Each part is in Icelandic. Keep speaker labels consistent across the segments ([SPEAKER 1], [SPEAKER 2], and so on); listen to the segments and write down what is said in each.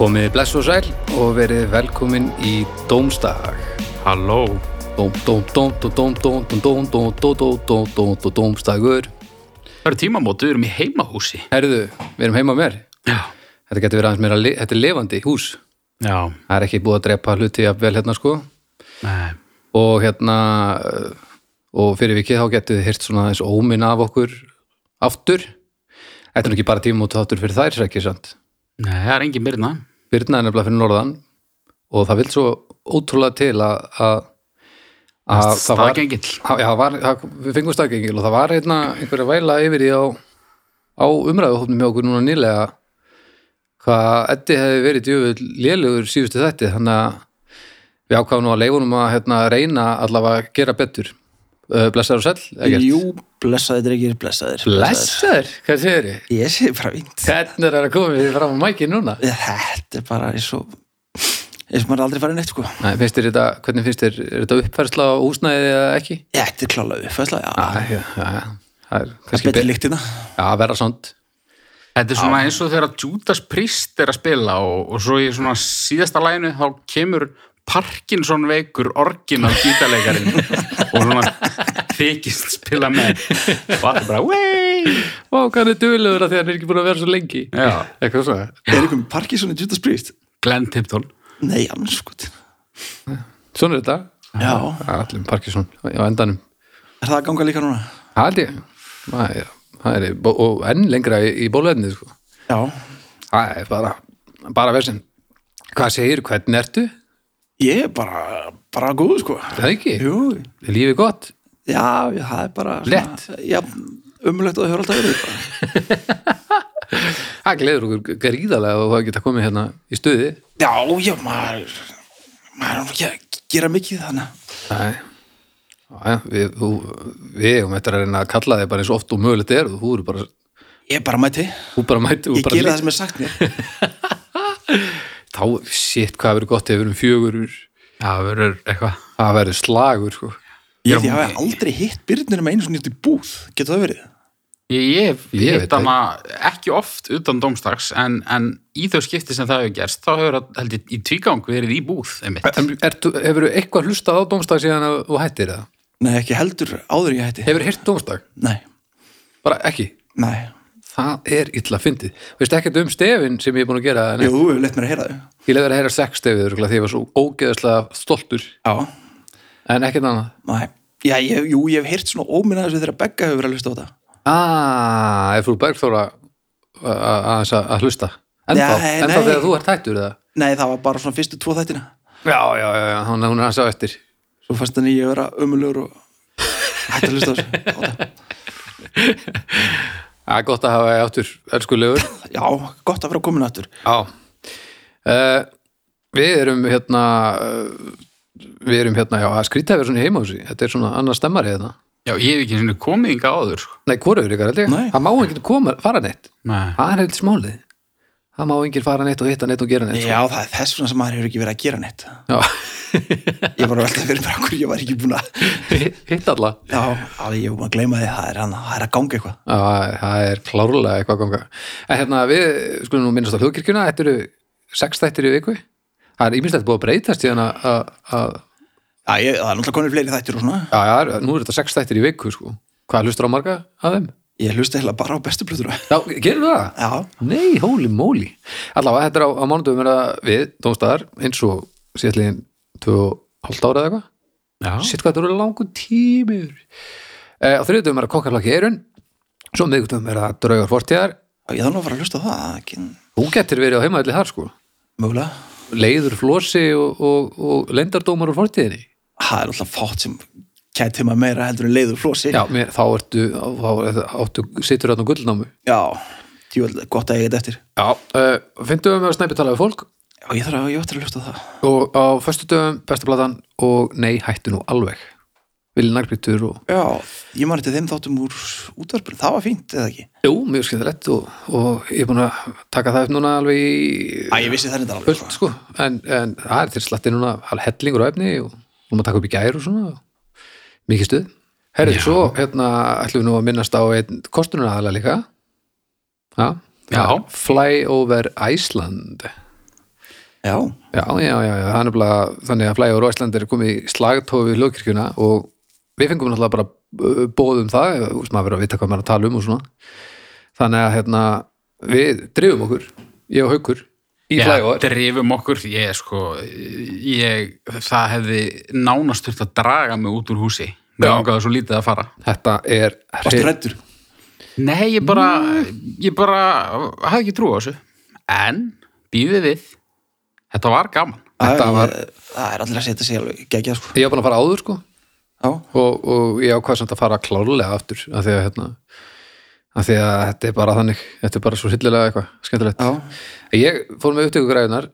[SPEAKER 1] Komið bless og sæl og verið velkomin í Dómstag.
[SPEAKER 2] Halló,
[SPEAKER 1] Dóm, dóm, dóm, dóm, dóm, dóm, dóm, dóm, dóm, dóm, dóm, dóm, dóm, dómstagur.
[SPEAKER 2] það eru tímamót, við erum í heimahúsi.
[SPEAKER 1] Herðu, við erum heima á mér.
[SPEAKER 2] Já.
[SPEAKER 1] Þetta getur verið aðeins meira, li- þetta er levandi hús.
[SPEAKER 2] Já,
[SPEAKER 1] Það er ekki búið að drepa hluti af vel hérna sko.
[SPEAKER 2] nei,
[SPEAKER 1] Og hérna, eh, og fyrir vikið þá getur þið hirt svona eins óminn af okkur aftur. Þetta er nú ekki bara tímamót þáttur fyrir þær, ekki sant?
[SPEAKER 2] nei, það er engin byrna.
[SPEAKER 1] Birna er nefnilega fyrir norðan og það vil svo ótrúlega til að að- að það var
[SPEAKER 2] Staðgengill.
[SPEAKER 1] Já, já, það var, það, við fengum stakengil og það var einna einhverja væla yfir því á, á umræðuhófnum hjá okkur núna nýlega hvað Eddi hefði verið djöfull lélugur síðustu þetta þannig að við ákváðum nú að leifunum að hérna, reyna allavega að gera betur uh, blessaður og sæll Eggert?
[SPEAKER 3] Jú, blessaðir drengir, blessaðir
[SPEAKER 1] blessaður, hvað segir þið?
[SPEAKER 3] Ég sé bara fínt
[SPEAKER 1] Hvernig er að koma við fram á mækin núna?
[SPEAKER 3] Þetta er bara eins og eins og maður er aldrei farið neitt sko
[SPEAKER 1] Nei, finnst þér þetta, hvernig finnst þér, er þetta uppfærsla á húsnæði eða ekki?
[SPEAKER 3] Þetta er klála uppfæðsla, já
[SPEAKER 1] Já, já, já, það er
[SPEAKER 3] Það er
[SPEAKER 1] kannski
[SPEAKER 3] betri
[SPEAKER 1] betri.
[SPEAKER 3] lyktina
[SPEAKER 1] Já, verða svont.
[SPEAKER 2] Þetta er svona eins og þegar Judas Priest er að spila og, og svo í svona síðasta læginu þá kemur Parkinson veikur orgin af gítarleikarin og svona þykist spila með og allir bara wey
[SPEAKER 1] Vá, hvað hann er duðlegur að því að hann er ekki búin að vera svo lengi.
[SPEAKER 2] Já.
[SPEAKER 1] Eitthvað svona.
[SPEAKER 3] Er einhver með Parkinson í Judas Priest?
[SPEAKER 2] Glenn Tipton
[SPEAKER 3] Nei, anskot
[SPEAKER 1] Svona er þetta.
[SPEAKER 3] Já,
[SPEAKER 1] Já, Allir með Parkinson á endanum.
[SPEAKER 3] er það að ganga líka núna?
[SPEAKER 1] Það held ég. Það er, það er, og enn lengra í, í bóluefnið, sko.
[SPEAKER 3] Já
[SPEAKER 1] Það er bara, bara versin. Hvað segir, hvernig ertu?
[SPEAKER 3] Ég er bara, bara góð sko
[SPEAKER 1] Það er ekki.
[SPEAKER 3] Jú,
[SPEAKER 1] Er lífið gott?
[SPEAKER 3] já, já, það er bara
[SPEAKER 1] Létt.
[SPEAKER 3] Já, umlögt að það höra alltaf verið
[SPEAKER 1] Það gleður okkur gríðarlega og það geta komið hérna í stuði.
[SPEAKER 3] Já, já, maður maður er nú ekki að gera mikið þannig
[SPEAKER 1] Nei. Já, já, við, þú, við eigum eftir að reyna að kalla þig bara eins oft og mögulegt er og þú eru bara,
[SPEAKER 3] Ég er bara mæti
[SPEAKER 1] þú bara mæti
[SPEAKER 3] Ég gera það sem er sagt mér
[SPEAKER 1] þá, shit, hvað verður gott ef við erum fjögur
[SPEAKER 2] Já, verður eitthvað
[SPEAKER 1] það verður slagur, sko
[SPEAKER 3] Ég
[SPEAKER 2] Já,
[SPEAKER 3] held ég
[SPEAKER 2] hún-
[SPEAKER 3] hafi aldrei hitt Birnir með einu svona í búð, getur það verið?
[SPEAKER 2] Ég, ég,
[SPEAKER 1] Ég
[SPEAKER 2] ég
[SPEAKER 1] veit
[SPEAKER 2] hitt hana ekki oft utan domstags en, en í þau skipti sem það hefur gerst þá hefur það held ég í tvígang verið í búð einmitt.
[SPEAKER 1] en ertu, hefur þú eitthvað hlustað á dómstag síðan að þú hættir það?
[SPEAKER 3] Nei, ekki heldur áður en ég hætti.
[SPEAKER 1] Hefur þú hirt dómstag?
[SPEAKER 3] Nei,
[SPEAKER 1] Bara ekki
[SPEAKER 3] nei.
[SPEAKER 1] Það er illa fyndið. Veistu ekkert um stefin sem ég er búin að gera, en
[SPEAKER 3] Jú, þú hefur leitt mér að heyra þau.
[SPEAKER 1] ég lefði að heyra sex stefið örugglega, því ég var svo ógeðaslega stoltur,
[SPEAKER 3] Já.
[SPEAKER 1] en ekkert annað.
[SPEAKER 3] Nei. Já, ég, jú, ég hef heyrt svona óminna þessu þegar Begga hefur verið að hlusta á það.
[SPEAKER 1] Ah, er frú Bergþóra a- a- aðeins að að hlusta? Ennþá,
[SPEAKER 3] Nei,
[SPEAKER 1] ennþá
[SPEAKER 3] nei.
[SPEAKER 1] þegar þú ert hættur það?
[SPEAKER 3] Nei, það var bara svona fyrstu tvo þættina.
[SPEAKER 1] Já, já, já, já, hún hún er aðeins á eftir.
[SPEAKER 3] Svo fannst henni ég vera ömulegur og hætti að hlusta á þessu. á það.
[SPEAKER 1] Það er gott að hafa þig áttur, elskulegur.
[SPEAKER 3] Já, gott að vera komin aftur.
[SPEAKER 1] Já uh, Við erum hérna uh, við erum hérna, já, að skrýta að vera svona í heimahúsi þetta er svona annar stemmari hérna
[SPEAKER 2] Já, ég hef ekki einu sinni komið inga áður sko.
[SPEAKER 1] Nei, hvoraður ykkar held ég,
[SPEAKER 3] Nei.
[SPEAKER 1] það má enginn koma fara neitt,
[SPEAKER 2] Nei.
[SPEAKER 1] það er heldur smálið það má enginn fara neitt og hitta neitt og gera neitt sko.
[SPEAKER 3] Já, það er þess vegna sem maður hefur ekki verið að gera neitt.
[SPEAKER 1] Já,
[SPEAKER 3] Ég var að velta fyrir mér okkur, ég var ekki búin að...
[SPEAKER 1] hitta alla
[SPEAKER 3] Já, að ég var að gleyma því, það er, hann, það er að ganga eitthvað.
[SPEAKER 1] Já, það er klárlega eitthvað að ganga En hérna, við skulum nú minnast á hlugkirkjuna þetta eru sex þættir í viku það er íminnstætt búið að breytast síðan að að- að-
[SPEAKER 3] Já, ég, það er náttúrulega konir fleiri þættir og svona.
[SPEAKER 1] já, já, nú er þetta sex þættir í viku sko. hvað hlustur á marga að þeim?
[SPEAKER 3] Ég hlusta heila bara á bestu plötur.
[SPEAKER 1] Já, gerum við það?
[SPEAKER 3] Já,
[SPEAKER 1] Nei, hóli móli Allavega, þetta er á, á mánudum er það við, dómstæðar, eins og síðallin tvö og hálft ára eða eitthvað
[SPEAKER 2] Já.
[SPEAKER 1] Sitt hvað þetta eru langur tími e, Á þriðutum er það kokkarlaki eirun Svo miðgutum er það draugar fortíðar
[SPEAKER 3] Já, ég þarf nú að fara að hlusta á það, það er ekki
[SPEAKER 1] Þú getur verið á heimaðalli þar sko
[SPEAKER 3] mögulega.
[SPEAKER 1] Leiður flosi og, og, og leyndardómar úr fortíðinni
[SPEAKER 3] Það er alltaf fátt sem kæti maður meira heldur en leiður flosi.
[SPEAKER 1] Já, mér, þá ertu, þá áttu, situr þarna á gullnámu
[SPEAKER 3] Já, jú, gott að ég get eftir.
[SPEAKER 1] Já, e, finnum við að snæpi tala við fólk
[SPEAKER 3] Já, ég þarf að, ég ætti að hlusta á það.
[SPEAKER 1] og á föstudöfum besta platan og nei, hættu nú alveg Vili Naglbítur og
[SPEAKER 3] Já, ég man eftir þeim þáttum úr útvarpunum, það var fínt, eða ekki?
[SPEAKER 1] jú, mjög skemmtilegt og, og ég er búin að taka það upp núna alveg í
[SPEAKER 3] Æ, ég vissi það reyndar alveg.
[SPEAKER 1] fullt sko, en, en það er til slatti núna hal- hellingur á efni og hún að taka upp í gær og svona mikið stuð Herri,
[SPEAKER 2] Já.
[SPEAKER 1] svo hérna ætlum við nú að minnast á einn kostununa aðlega líka ha?
[SPEAKER 2] Já.
[SPEAKER 1] Fly over Iceland
[SPEAKER 3] Já,
[SPEAKER 1] Já, já, já, já, hann er bara þannig að Flægur og Íslandir er komið í slagtofi við hljókirkjuna og við fengum náttúrulega bara bóðum það, þú veist maður verið að vita hvað maður er að tala um og svona þannig að hérna, við drifum okkur ég og Haukur í Flægur
[SPEAKER 2] drifum okkur, ég sko ég, það hefði nánast þurft að draga mig út úr húsi mér
[SPEAKER 1] Já.
[SPEAKER 2] langaði svo lítið að fara
[SPEAKER 1] þetta er
[SPEAKER 3] varstu rættur?
[SPEAKER 2] nei, ég bara,
[SPEAKER 1] Mm.
[SPEAKER 2] ég bara hafði ekki trú á þessu en, býðið við þetta var gaman
[SPEAKER 1] Þetta
[SPEAKER 3] Það-
[SPEAKER 1] var-
[SPEAKER 3] Það er allir að setja sig alveg gegja, sko.
[SPEAKER 1] ég var búin að fara áður sko
[SPEAKER 3] Já,
[SPEAKER 1] og, og ég ákvað samt að fara klárlega aftur af því að, hérna, af því að þetta er bara þannig þetta er bara svo hillilega eitthvað, skemmtilegt
[SPEAKER 3] já,
[SPEAKER 1] ég fór með upptöku græðunar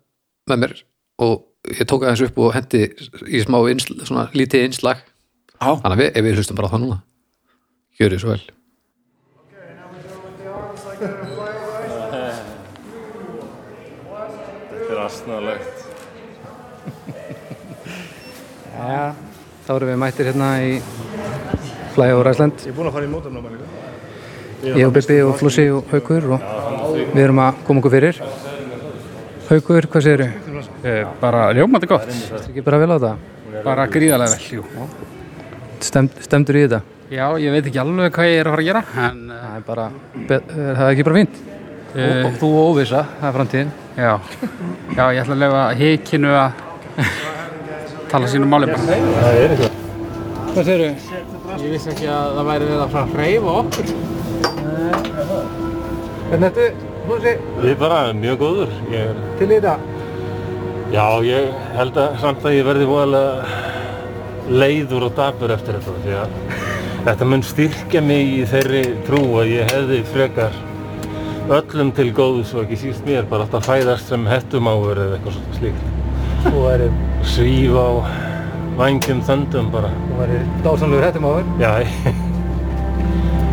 [SPEAKER 1] með mér og ég tók aðeins upp og hendi í smá innsl, svona lítið innslag
[SPEAKER 3] já.
[SPEAKER 1] þannig að við, ef við hlustum bara á það núna gjörið svo vel
[SPEAKER 4] Þetta er astnalegt.
[SPEAKER 5] Já, þá erum við mættir hérna í Fly over Iceland
[SPEAKER 4] Ég er búinn að fara í sko. mótamnáma líka.
[SPEAKER 5] ég og Bibi og Flossi og Haukur og við erum að koma okkur fyrir Haukur, hvað segirðu?
[SPEAKER 6] Eh, Bara ljómandi gott,
[SPEAKER 5] Þetta ekki bara vel á það?
[SPEAKER 6] bara gríðarlega vel, jú.
[SPEAKER 5] Stem, stemdur í þetta?
[SPEAKER 6] Já, ég veit ekki alveg hvað ég er að fara að gera, en eh,
[SPEAKER 5] Það er bara, be, er það ekki bara fínt?
[SPEAKER 6] Eh.
[SPEAKER 5] Þú og óvisa, það er framtíðin
[SPEAKER 6] já, já, ég ætla að lefa hikinu að tala sínu máli bara.
[SPEAKER 5] Hvað segirðu? Ég vissi ekki að það væri verið að fara að hreyfa okkur Hvernig þetta, Flossi,
[SPEAKER 4] Ég er bara mjög góður. Ég er,
[SPEAKER 5] til í þetta?
[SPEAKER 4] já, ég held að samt að ég verði voðalega leiður og dapur eftir þetta. Því að þetta mun styrkja mig í þeirri trú að ég hefði frekar öllum til góðs og ekki síst mér bara átt að fæðast sem hettumáfur eða eitthvað svona slíkt.
[SPEAKER 5] Þú væri,
[SPEAKER 4] Svíf á vangjum þöndum bara.
[SPEAKER 5] þú væri dásamlegur hættum á þér
[SPEAKER 4] Já, ég,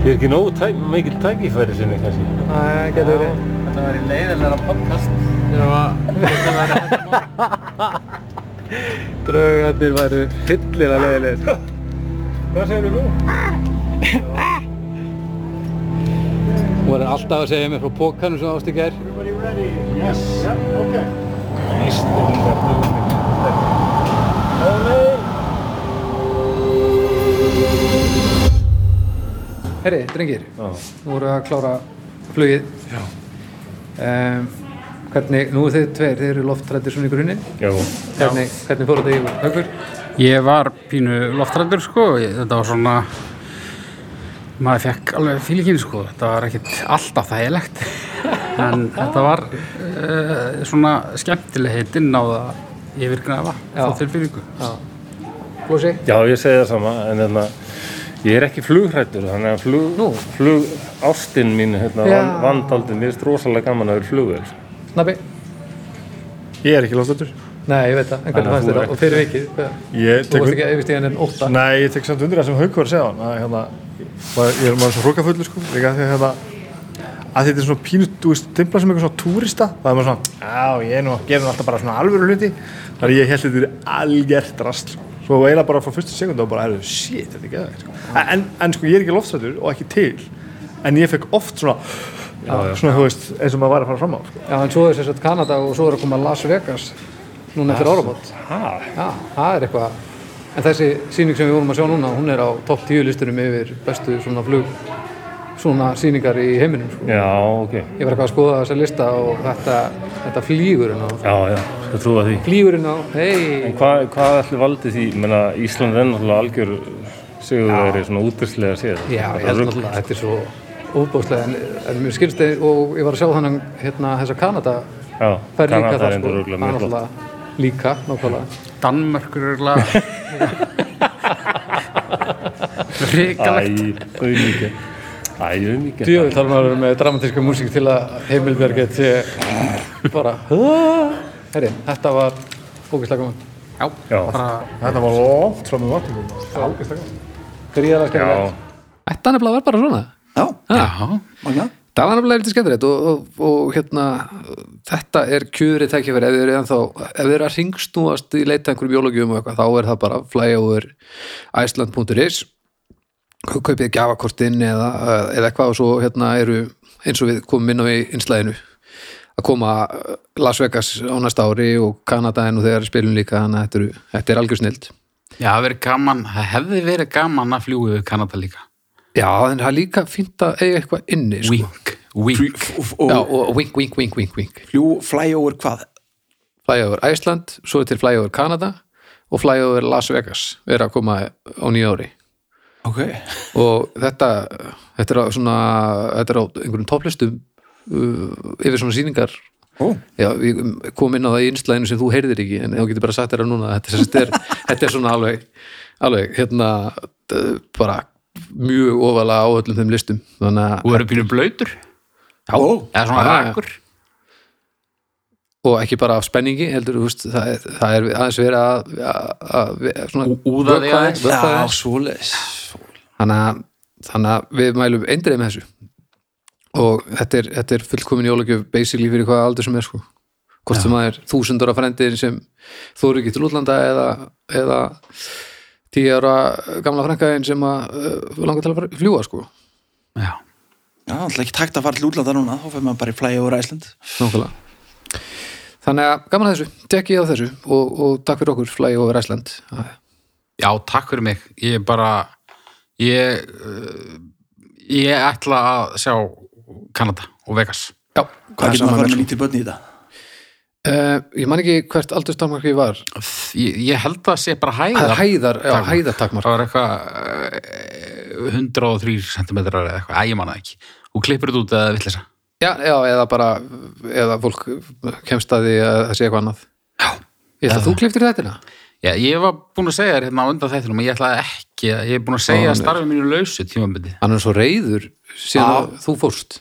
[SPEAKER 4] ég er ekki nógu tæk, mikil tækifæri sinni kannski.
[SPEAKER 5] Það getur verið
[SPEAKER 4] Draugarnir væru fyllilega leiðilegir. Hvað segir þú nú?
[SPEAKER 5] Hún var alltaf að segja mér frá pókanum sem ást í gær. Herri, drengir, nú voru að klára flugið. Já. hvernig, nú eru þið tveir, þið eru loftrættir svona í grunni.
[SPEAKER 4] Já.
[SPEAKER 5] Hvernig, hvernig fóruð þið í högur?
[SPEAKER 6] Ég var pínu loftrættur, sko, ég, þetta var svona, maður fekk alveg fylgin, sko, þetta var ekkit alltaf þægilegt, en þetta var uh, svona skemmtileg heitinn á það yfirgnafa,
[SPEAKER 5] Já.
[SPEAKER 6] þá tilbyrningu.
[SPEAKER 5] Flósi?
[SPEAKER 4] Já, ég segi það sama, en hérna, ég er ekki flugrættur, þannig að flug,
[SPEAKER 5] Nú.
[SPEAKER 4] flug ástinn mín, hérna,
[SPEAKER 5] Já.
[SPEAKER 4] van- vandaldin, mér finnst rosalega gaman að vera flugvel.
[SPEAKER 5] Snabbi?
[SPEAKER 7] Ég er ekki loftrættur.
[SPEAKER 5] Nei, ég veit það, en
[SPEAKER 4] Þannig
[SPEAKER 5] hvernig
[SPEAKER 4] að
[SPEAKER 5] fannst
[SPEAKER 4] þú
[SPEAKER 5] þér
[SPEAKER 4] er
[SPEAKER 5] það? Og fyrir vikið, hvað?
[SPEAKER 7] Ég
[SPEAKER 5] Þú
[SPEAKER 7] tek,
[SPEAKER 5] varst ekki að yfirstíðan en ótta.
[SPEAKER 7] nei, ég tek samt undir það sem Haukur segja hann. Að, hérna, maður, ég er maður er svo hrókafullur sko. Líka af því að, hérna, að þetta er svona pínu, þú veist, dimpla sem eitthvað svona túrista. Það er maður svona, já, ég er nú að gera nú alltaf bara svona alvöru hluti. Þannig að ég held þetta er algjört rast. Sko. Svo eiginlega bara frá fyrstu sekundu og bara, herru, shit, þetta er ekki aðeins. Sko. En, en sko, ég er ekki loftrættur og ekki til. En ég fekk oft svona, svona, þú veist, eins og maður var að fara fram á. Sko.
[SPEAKER 5] Já, en svo er þess að Kanada og svo er að koma Las Vegas núna eftir árabót. Já, það er eitthvað. En þessi síning sem við vorum að sjá núna, hún er á topp 10 listunum yfir bestu svona flug, svona síningar í heiminum, sko.
[SPEAKER 4] Já, ok.
[SPEAKER 5] Ég var eitthvað að skoða þessa lista og þetta, þetta flýgur hérna á.
[SPEAKER 4] Já, já, skal trúa því.
[SPEAKER 5] Flýgur hérna á,
[SPEAKER 4] En
[SPEAKER 5] hei,
[SPEAKER 4] hvað, hvað ætli valdi því, menna, Ísland er náttúrulega algjör sigurveri, svona útvislega séð.
[SPEAKER 5] já, ég held náttúrulega, að þetta er svo óbúslega, en, en mér skilst þið, og ég var að sjá þannig, hérna, þessa Kanada
[SPEAKER 4] Já,
[SPEAKER 5] fær líka
[SPEAKER 4] Kanada
[SPEAKER 5] það, sko.
[SPEAKER 4] er endur
[SPEAKER 5] Það er
[SPEAKER 4] mjög flott.
[SPEAKER 5] náttúrulega líka, nákvæmlega.
[SPEAKER 6] Danmörkur er eiginlega Ríkalegt
[SPEAKER 4] Æ, auðvitað. Æ, auðvitað.
[SPEAKER 5] Djöfull þarf maður að vera með dramatíska músík til að Heimilberg geti bara Herri, þetta var ógeðslega gaman
[SPEAKER 6] Já,
[SPEAKER 4] Já.
[SPEAKER 6] bara
[SPEAKER 7] Þetta var loft frá með vatningum.
[SPEAKER 5] Gríðalega
[SPEAKER 4] Já,
[SPEAKER 5] skemmtilegt
[SPEAKER 1] þetta nefnilega var bara svona
[SPEAKER 3] Já,
[SPEAKER 2] já,
[SPEAKER 3] magna.
[SPEAKER 1] Það var nefnilega lítið skemmtilegt og, og, og hérna, þetta er kjöri tækifæri ef þið eru ennþá, ef þið eru að ringstúast í leita að einhverjum jólagjum og eitthvað, þá er það bara flyover iceland.is kaupið gjafakortinn eða, eða eitthvað og svo hérna eru eins og við komum inn á í innslæðinu að koma eh, Las Vegas á næsta ári og Kanada en og þegar spilum líka þannig að þetta, eru- þetta er algjör snild
[SPEAKER 2] Já, það verið gaman, það hefði verið gaman að fljúga við Kanada líka.
[SPEAKER 1] Já, en það er líka fínt að eiga eitthvað inni sko.
[SPEAKER 2] Wink, wink.
[SPEAKER 3] F-
[SPEAKER 1] Já,
[SPEAKER 3] og
[SPEAKER 1] og wink, wink, wink, wink, wink
[SPEAKER 3] fljú fly over hvað
[SPEAKER 1] flæja over Æsland, svo er til flæja over Kanada og flæja over Las Vegas er að koma á nýja ári
[SPEAKER 3] ok,
[SPEAKER 1] og þetta, þetta er á svona þetta er á einhverjum topplistum uh, yfir svona sýningar
[SPEAKER 3] Ó.
[SPEAKER 1] Já, við komum inn á það í innslæðinu sem þú heyrðir ekki, en þá getur bara sagt þér að núna þetta, þetta, er, þetta er svona alveg alveg, hérna d- bara mjög ofalega á öllum þeim listum þannig að,
[SPEAKER 2] Þú verður pínu blöytur,
[SPEAKER 1] já,
[SPEAKER 2] eða svona
[SPEAKER 1] Já, já.
[SPEAKER 2] rakur.
[SPEAKER 1] og ekki bara af spenningi heldur, þú veist, það, er- það er aðeins verið að, að, að, að svona,
[SPEAKER 2] Úða þig
[SPEAKER 1] vökva-
[SPEAKER 2] aðeins.
[SPEAKER 1] vökva
[SPEAKER 3] já,
[SPEAKER 1] aðeins.
[SPEAKER 3] svoleiðis
[SPEAKER 1] þannig að, þannig að við mælum eindreið með þessu og þetta er, þetta er fullkomin jólagjöf basically fyrir hvaða aldur sem er sko hvort sem það er þúsundur af frendir sem þú eru ekki til útlanda eða, eða tíu ára gamla frænkaðin sem að uh, langar til að fara- fljúga sko
[SPEAKER 2] Já.
[SPEAKER 3] já, alltaf ekki takt að fara til útlanda núna þá fyrir maður bara í fly over Iceland
[SPEAKER 1] Nákvæmlega. þannig að gaman að þessu, tekkið á þessu og, og takk fyrir okkur, flægi over Æsland
[SPEAKER 2] Já, takk fyrir mig. Ég er bara, ég, uh, ég ætla að sjá Kanada og Vegas.
[SPEAKER 1] Já,
[SPEAKER 3] hvað sko. getur maður að fara með lítil börn í þetta
[SPEAKER 1] Uh, ég man ekki hvert aldurstakmarki var
[SPEAKER 2] Ég, ég held að sé bara
[SPEAKER 1] Það
[SPEAKER 2] hæðar.
[SPEAKER 1] er hæðar, já,
[SPEAKER 2] takmark.
[SPEAKER 1] hæðartakmark
[SPEAKER 2] Það var eitthvað eh, 103 cm eða eitthvað, að ég manna ekki. Og klippur þetta út eða villisa.
[SPEAKER 1] já, já, eða bara, eða fólk kemst að því að það sé eitthvað annað Já, ég ætla að þú kliftir þetta
[SPEAKER 2] Já, ég var búin að segja þér hérna á undan þættinum að ég ætlaði ekki, að- ég er búin að segja
[SPEAKER 1] Ó,
[SPEAKER 2] að
[SPEAKER 1] nei.
[SPEAKER 2] starfi mínu lausu tímabindi.
[SPEAKER 1] hann er svo reyður síðan að þú fórst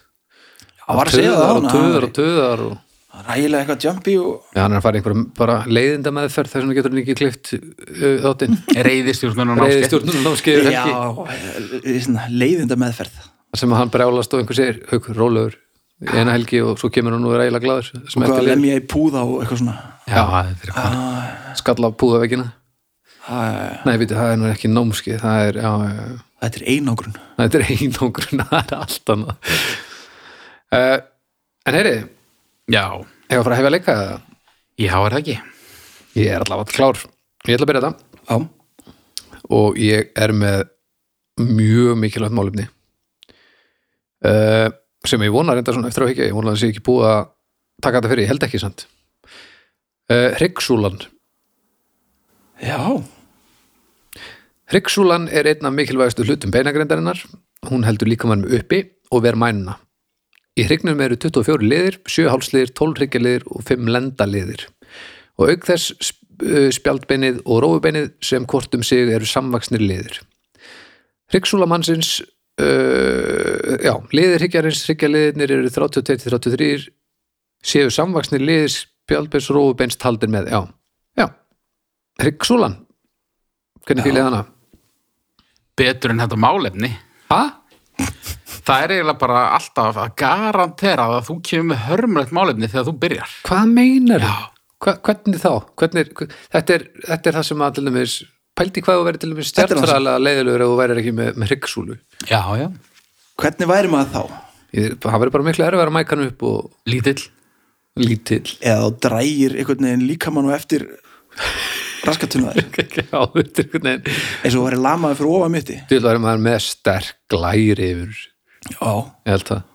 [SPEAKER 3] hann var að segja það
[SPEAKER 1] og
[SPEAKER 3] áðan,
[SPEAKER 1] töðar
[SPEAKER 3] hann-
[SPEAKER 1] og töðar og
[SPEAKER 3] rægilega eitthvað jumpy og
[SPEAKER 1] já, hann er að fara í einhverjum bara leiðinda meðferð þess vegna getur hann ekki klift uh, þáttinn
[SPEAKER 2] Reyðistjórnun og
[SPEAKER 1] reyði
[SPEAKER 2] náttúr.
[SPEAKER 1] stjórnum námskeið
[SPEAKER 3] já, eh,
[SPEAKER 1] helgi
[SPEAKER 3] svona, leiðinda meðferð
[SPEAKER 1] þar sem að hann brjálast og einhver segir hauk, rólegur, í eina helgi og svo kemur hann og er eiginlega glaður sem
[SPEAKER 3] og hvað
[SPEAKER 1] eftir leið,
[SPEAKER 3] að lemja í púða og eitthvað svona
[SPEAKER 2] Já, þetta er eitthvað.
[SPEAKER 1] skalla á púðaveggina
[SPEAKER 3] það er-
[SPEAKER 1] nei, veitir, það er nú ekki námskeið það er, já, já, já
[SPEAKER 3] þetta er einangrun
[SPEAKER 1] Þetta er einangrun, það er allt annað. Uh, en heyri,
[SPEAKER 2] Já,
[SPEAKER 1] ég var að fara að hefja að leika það.
[SPEAKER 2] já, er það ekki.
[SPEAKER 1] Ég er allavega klár. Ég ætla að byrja þetta
[SPEAKER 3] já,
[SPEAKER 1] og ég er með mjög mikilvægt málefni uh, sem ég vona reynda svona eftir á higgja. Ég vona að það sé ekki búið að taka þetta fyrir, ég held ekki samt. Uh, Hryggsúlan.
[SPEAKER 3] já,
[SPEAKER 1] Hryggsúlan er einn af mikilvægastu hlutum beinagrindarinnar. Hún heldur líkamannum uppi og ver mænuna. Í hryggnum eru 24 liðir, 7 hálsliðir, 12 hryggjarliðir og 5 lendaliðir. Og auk þess sp- uh, spjaldbeinið og rófubeinið sem hvort um sig eru samvaksnir liðir. Hryggsúlamannsins, uh, já, liðir hryggjarins, hryggjarliðinir eru 32-33, séu samvaksnir liðir spjaldbeins og rófubeins taldir með, já. Já, hryggsúlan, hvernig fílið hana?
[SPEAKER 2] Betur en þetta málefni.
[SPEAKER 1] Hæ?
[SPEAKER 2] Það er eiginlega bara alltaf að garantera að þú kemur með hörmulegt málefni þegar þú byrjar.
[SPEAKER 1] Hvað meinar þú? Hva, hvernig þá? Hvernig, hver- þetta, er, þetta er það sem að til dæmis pældi hvað þú verið til dæmis
[SPEAKER 3] Þetta er það sem-
[SPEAKER 1] stjartfræðlega leiðilegur ef þú værir ekki með, með hryggsúlu
[SPEAKER 2] Já, já.
[SPEAKER 3] hvernig væri maður þá
[SPEAKER 1] Ég- það verður bara miklu erfið að mæka hann upp og
[SPEAKER 2] Lítill.
[SPEAKER 1] lítill
[SPEAKER 3] eða þá drægir einhvern veginn líkamann og eftir raskatunnaður
[SPEAKER 1] Já, þetta er einhvern veginn
[SPEAKER 3] eins og væri lamaði fyrir ofan mitti
[SPEAKER 1] til að vera maður með sterk glæri yfir þessu.
[SPEAKER 3] já,
[SPEAKER 1] ég held það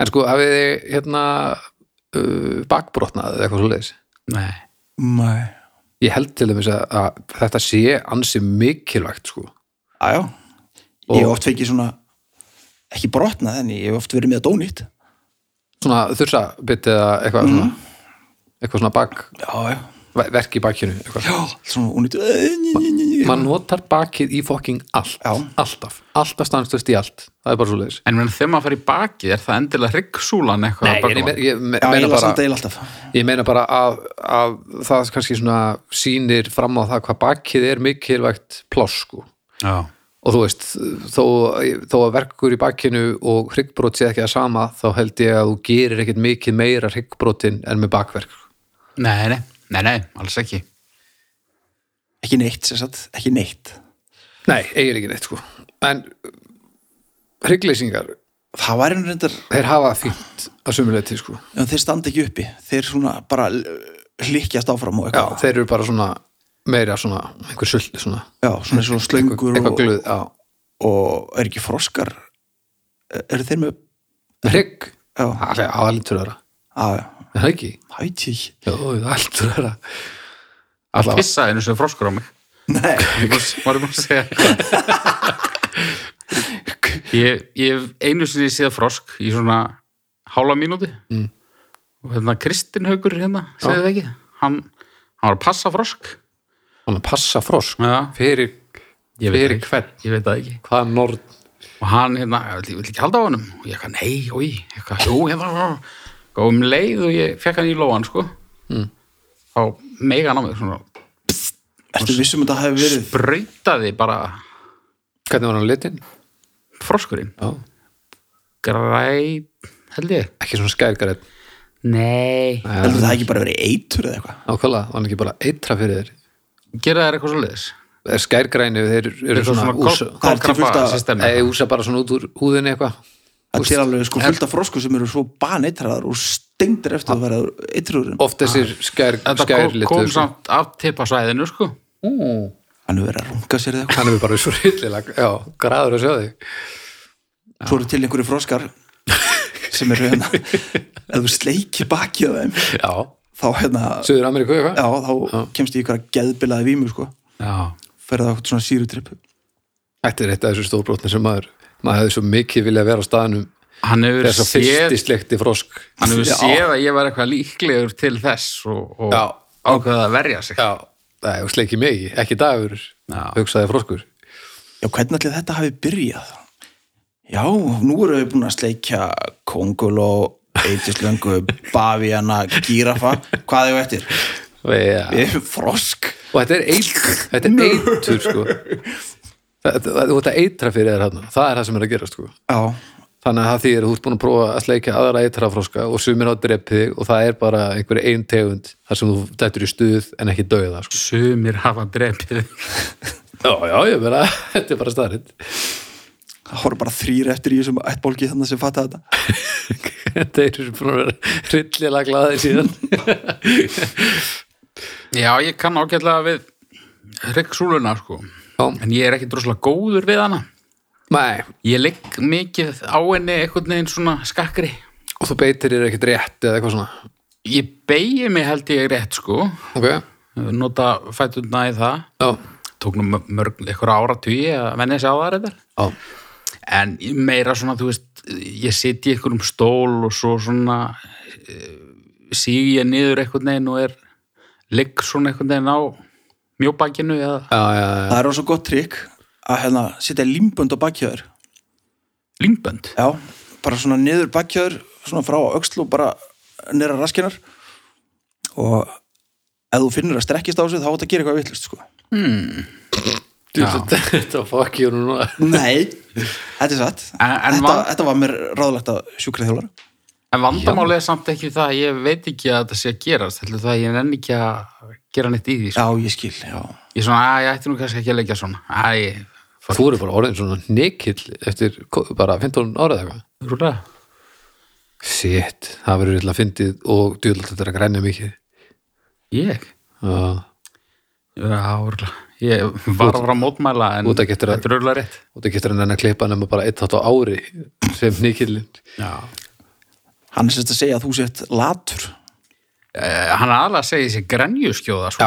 [SPEAKER 1] en sko, hafið þið hérna uh, bakbrotnað eða eitthvað svo leiðis
[SPEAKER 2] Nei.
[SPEAKER 3] mæ
[SPEAKER 1] ég held til dæmis að, að þetta sé ansi mikilvægt sko
[SPEAKER 3] aðjá, ég hef oft fengið svona ekki brotnað en ég hef oft verið með að dónýtt
[SPEAKER 1] svona þursabit eða
[SPEAKER 3] Mhm.
[SPEAKER 1] eitthvað svona eitthvað svona bak
[SPEAKER 3] já, já,
[SPEAKER 1] ver- verk í bakinu eitthvað.
[SPEAKER 3] já, svona unýtt já,
[SPEAKER 1] mann notar bakið í fokking allt
[SPEAKER 3] Já.
[SPEAKER 1] alltaf, alltaf stannstöðst í allt það er bara svo leiðis
[SPEAKER 2] En menn þegar maður fyrir bakið er það endilega hryggsúlan eitthvað. að
[SPEAKER 1] ég,
[SPEAKER 2] baka
[SPEAKER 1] me- ég, me,
[SPEAKER 3] ég
[SPEAKER 1] meina
[SPEAKER 3] las þetta
[SPEAKER 1] bara,
[SPEAKER 3] eil alltaf
[SPEAKER 1] ég meina bara að, að það kannski svona sýnir fram á það hvað bakið er mikilvægt pláss sko
[SPEAKER 2] Já.
[SPEAKER 1] og þú veist, þó, þó að verkur í bakkinu og hryggbrot sé ekki að sama þá held ég að þú gerir ekkert mikið meira hryggbrotin en með bakverk sko.
[SPEAKER 2] Nei, nei. Nei, nei, alls ekki.
[SPEAKER 3] ekki neitt, sér satt, ekki neitt
[SPEAKER 1] Nei, eigir ekki neitt sko En hryggleysingar
[SPEAKER 3] það væri nú reyndar
[SPEAKER 1] Þeir hafa fínt að sumuleiti sko.
[SPEAKER 3] en þeir standa ekki uppi, þeir svona bara hlikkjast áfram og
[SPEAKER 1] Já,
[SPEAKER 3] eitthvað
[SPEAKER 1] þeir eru bara svona meira svona einhver sulti svona
[SPEAKER 3] já, svona svona slöngur
[SPEAKER 1] eitthvað
[SPEAKER 3] og,
[SPEAKER 1] glöð, já
[SPEAKER 3] og er ekki froskar eru þeir með
[SPEAKER 1] Hrygg,
[SPEAKER 3] já,
[SPEAKER 1] það er alveg aðra
[SPEAKER 3] að,
[SPEAKER 1] Það er ekki,
[SPEAKER 3] hætti ekki
[SPEAKER 1] já, það er alveg aðra Allá,
[SPEAKER 2] Pissaði einu sem froskur á mig
[SPEAKER 3] nei,
[SPEAKER 2] Var ég búin að segja Ég, ég hef einu sinni séð frosk í svona hálfa mínúti og hérna Kristinn Haugur hérna, segðu það ekki hann, hann var að passa frosk
[SPEAKER 1] hann passa frosk
[SPEAKER 2] Já.
[SPEAKER 1] fyrir,
[SPEAKER 2] Ég veit
[SPEAKER 1] fyrir
[SPEAKER 2] það
[SPEAKER 1] hvern
[SPEAKER 2] ég veit það ekki
[SPEAKER 1] hvað norð
[SPEAKER 2] og hann, hérna, ég vil, ég vil ekki halda á honum og ég eitthvað, nei, oi, eitthvað, jú, ég var og um leið og ég fekk hann í lóan sko,
[SPEAKER 3] Hmm.
[SPEAKER 2] mm. þá mega hann á mig, svona,
[SPEAKER 3] ertu vissum að það hefur verið
[SPEAKER 2] brautaði bara
[SPEAKER 1] hvernig var hann litin?
[SPEAKER 2] froskurinn
[SPEAKER 1] Já.
[SPEAKER 2] græn, held ég
[SPEAKER 1] Ekki svona skærgrætt
[SPEAKER 2] nei,
[SPEAKER 3] heldur það ekki bara verið eitur eða eitthvað
[SPEAKER 1] Ákvæðlega, var hann ekki bara eitra fyrir þér
[SPEAKER 2] gera þær eitthvað svo leiðis
[SPEAKER 1] Er skærgrænu, þeir eru svona, úsa,
[SPEAKER 3] Það er til fullt af-
[SPEAKER 2] kólkrafa
[SPEAKER 1] eða úsa bara svona út úr húðinni eitthvað
[SPEAKER 3] það er til alveg sko fullt af froskur sem eru svo baneitraðar og stengdir eftir að vera eitrúður
[SPEAKER 1] Oft þessir skær,
[SPEAKER 2] Ah. þetta kom,
[SPEAKER 1] skærlitu
[SPEAKER 2] kom
[SPEAKER 1] sko.
[SPEAKER 2] samt af tipasvæðinu sko
[SPEAKER 3] hann hefur verið að runga sér eða eitthvað
[SPEAKER 1] Hann er bara svo rillilega, já, graður að sjá þig
[SPEAKER 3] svo eru til einhverju froskar sem eru hérna ef þú sleikir bakið á þeim
[SPEAKER 1] Já,
[SPEAKER 3] þá hérna já,
[SPEAKER 1] Suður Ameríku eitthvað
[SPEAKER 3] þá kemst ég ykkur að geðbilaði vímu sko
[SPEAKER 2] já,
[SPEAKER 3] ferða okkur svona sírutrip
[SPEAKER 1] Þetta er eitt af þessu stórbrotni sem maður maður hefði svo mikið viljað vera á staðanum
[SPEAKER 2] hann hefur
[SPEAKER 1] þess að
[SPEAKER 2] séð
[SPEAKER 1] fyrsti slekti frosk
[SPEAKER 2] hann hefur
[SPEAKER 3] Já.
[SPEAKER 2] séð að ég var eitthvað líklegur til þess og, og
[SPEAKER 1] Já.
[SPEAKER 2] ákveða að verja sig
[SPEAKER 1] Já, það er sleiki mig, ekki dagur
[SPEAKER 2] Já.
[SPEAKER 1] hugsaði froskur
[SPEAKER 3] já hvernig allir þetta hafi byrjað já nú eru við búin að sleikja konguló eitislöngu, bavíana, gírafa hvað hefur eftir?
[SPEAKER 1] Já.
[SPEAKER 3] við hefum frosk
[SPEAKER 1] og þetta er eitur þetta er eitur sko Það- það- þú ert að eitra fyrir þér hann það er það sem er að gera sko
[SPEAKER 3] já,
[SPEAKER 1] þannig að það þýðir að þú ert búin að prófa að sleika aðra eitra froska og sumir á dreppi og það er bara einhver ein tegund þar sem þú dættur í stuð en ekki dauða sko.
[SPEAKER 2] sumir hafa drepið
[SPEAKER 1] já, já, ég meina, þetta er bara starrið
[SPEAKER 3] það horfum bara þrýr eftir í þessum ættbólki þannig sem fatta þetta
[SPEAKER 1] þeir eru búin að vera rillilega glaðir síðan
[SPEAKER 2] já, ég kann ágætlega við hryggsúluna sko
[SPEAKER 1] Já.
[SPEAKER 2] en ég er ekki droslega góður við hana
[SPEAKER 1] Nei,
[SPEAKER 2] ég ligg mikið á henni einhvern veginn svona skakkri
[SPEAKER 1] og þú beitir þér ekkert rétt eða eitthvað svona
[SPEAKER 2] ég beigi mig held ég rétt sko
[SPEAKER 1] ok,
[SPEAKER 2] nota fætuna í það
[SPEAKER 1] já,
[SPEAKER 2] tók nú mör- mörg einhverja áratugi að menna þessi á það reyndar
[SPEAKER 1] já,
[SPEAKER 2] en meira svona, þú veist ég sit í einhverjum stól og svo svona síg ég niður einhvern veginn og er ligg svona einhvern veginn á mjóbakinu eða
[SPEAKER 1] já, já, já.
[SPEAKER 3] það er rosa gott trikk að hérna, setja límbönd á bakkjöður
[SPEAKER 2] língbönd
[SPEAKER 3] já, bara svona niður bakkjöður svona frá öxl og bara nýra raskinnar og ef þú finnur að strekkist á sig þá átt að gera eitthvað vitlust sko
[SPEAKER 1] Þú, þetta- þetta fokk ég núna
[SPEAKER 3] nei, þetta er satt
[SPEAKER 2] En- en
[SPEAKER 3] þetta,
[SPEAKER 2] van-
[SPEAKER 3] þetta var mér ráðlegt að sjúkra þjólar
[SPEAKER 2] en vandamálið er samt ekki það að ég veit ekki að þetta sé að gerast heldur það að ég nenni ekki að gera neitt í því sko.
[SPEAKER 3] já, ég skil, já
[SPEAKER 2] ég svona, að ég ætti nú kannski ekki að leggja svona að ég,
[SPEAKER 1] Þú eru bara orðin svona nekill eftir ko- bara 15 ára eða eitthvað
[SPEAKER 2] rúlega
[SPEAKER 1] Sitt, það verður illa fyndið og djúðlega þetta er að grænja mikið
[SPEAKER 2] ég,
[SPEAKER 1] Já.
[SPEAKER 2] já, rúlega ég var að vera að mótmæla en
[SPEAKER 1] Þú ert ekki eftir
[SPEAKER 2] þetta
[SPEAKER 1] að-
[SPEAKER 2] er rúlega rétt
[SPEAKER 1] og það getur hann enn að klippa nema bara eitt þátt á ári sem nekillin
[SPEAKER 2] já
[SPEAKER 3] hann er sérst að segja að þú sett latur
[SPEAKER 2] Eh, hann aðalega segið sér grenjuskjóða sko.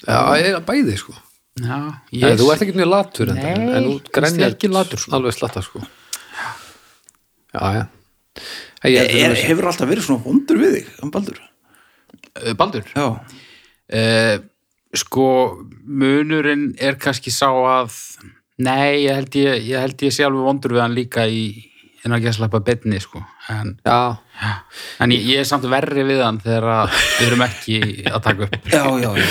[SPEAKER 1] Já, já ég er bæði sko
[SPEAKER 2] já ég,
[SPEAKER 1] yes. Þú ert ekki mjög latur en, en, en
[SPEAKER 2] Nei,
[SPEAKER 1] þú grænja
[SPEAKER 2] finnst þér ekki latur svona?
[SPEAKER 1] alveg slatta sko Já, já Hey,
[SPEAKER 3] er,
[SPEAKER 1] ég,
[SPEAKER 3] er, hefur alltaf verið svona vondur við þig um baldur
[SPEAKER 2] Eh, Baldur
[SPEAKER 3] já,
[SPEAKER 2] uh, sko munurinn er kannski sá að nei, ég held ég, ég, held ég sé alveg vondur við hann líka í en að gesla upp að betni sko en,
[SPEAKER 1] já,
[SPEAKER 2] en ég, ég er samt verri við hann þegar að við erum ekki að taka upp
[SPEAKER 3] já, já, já.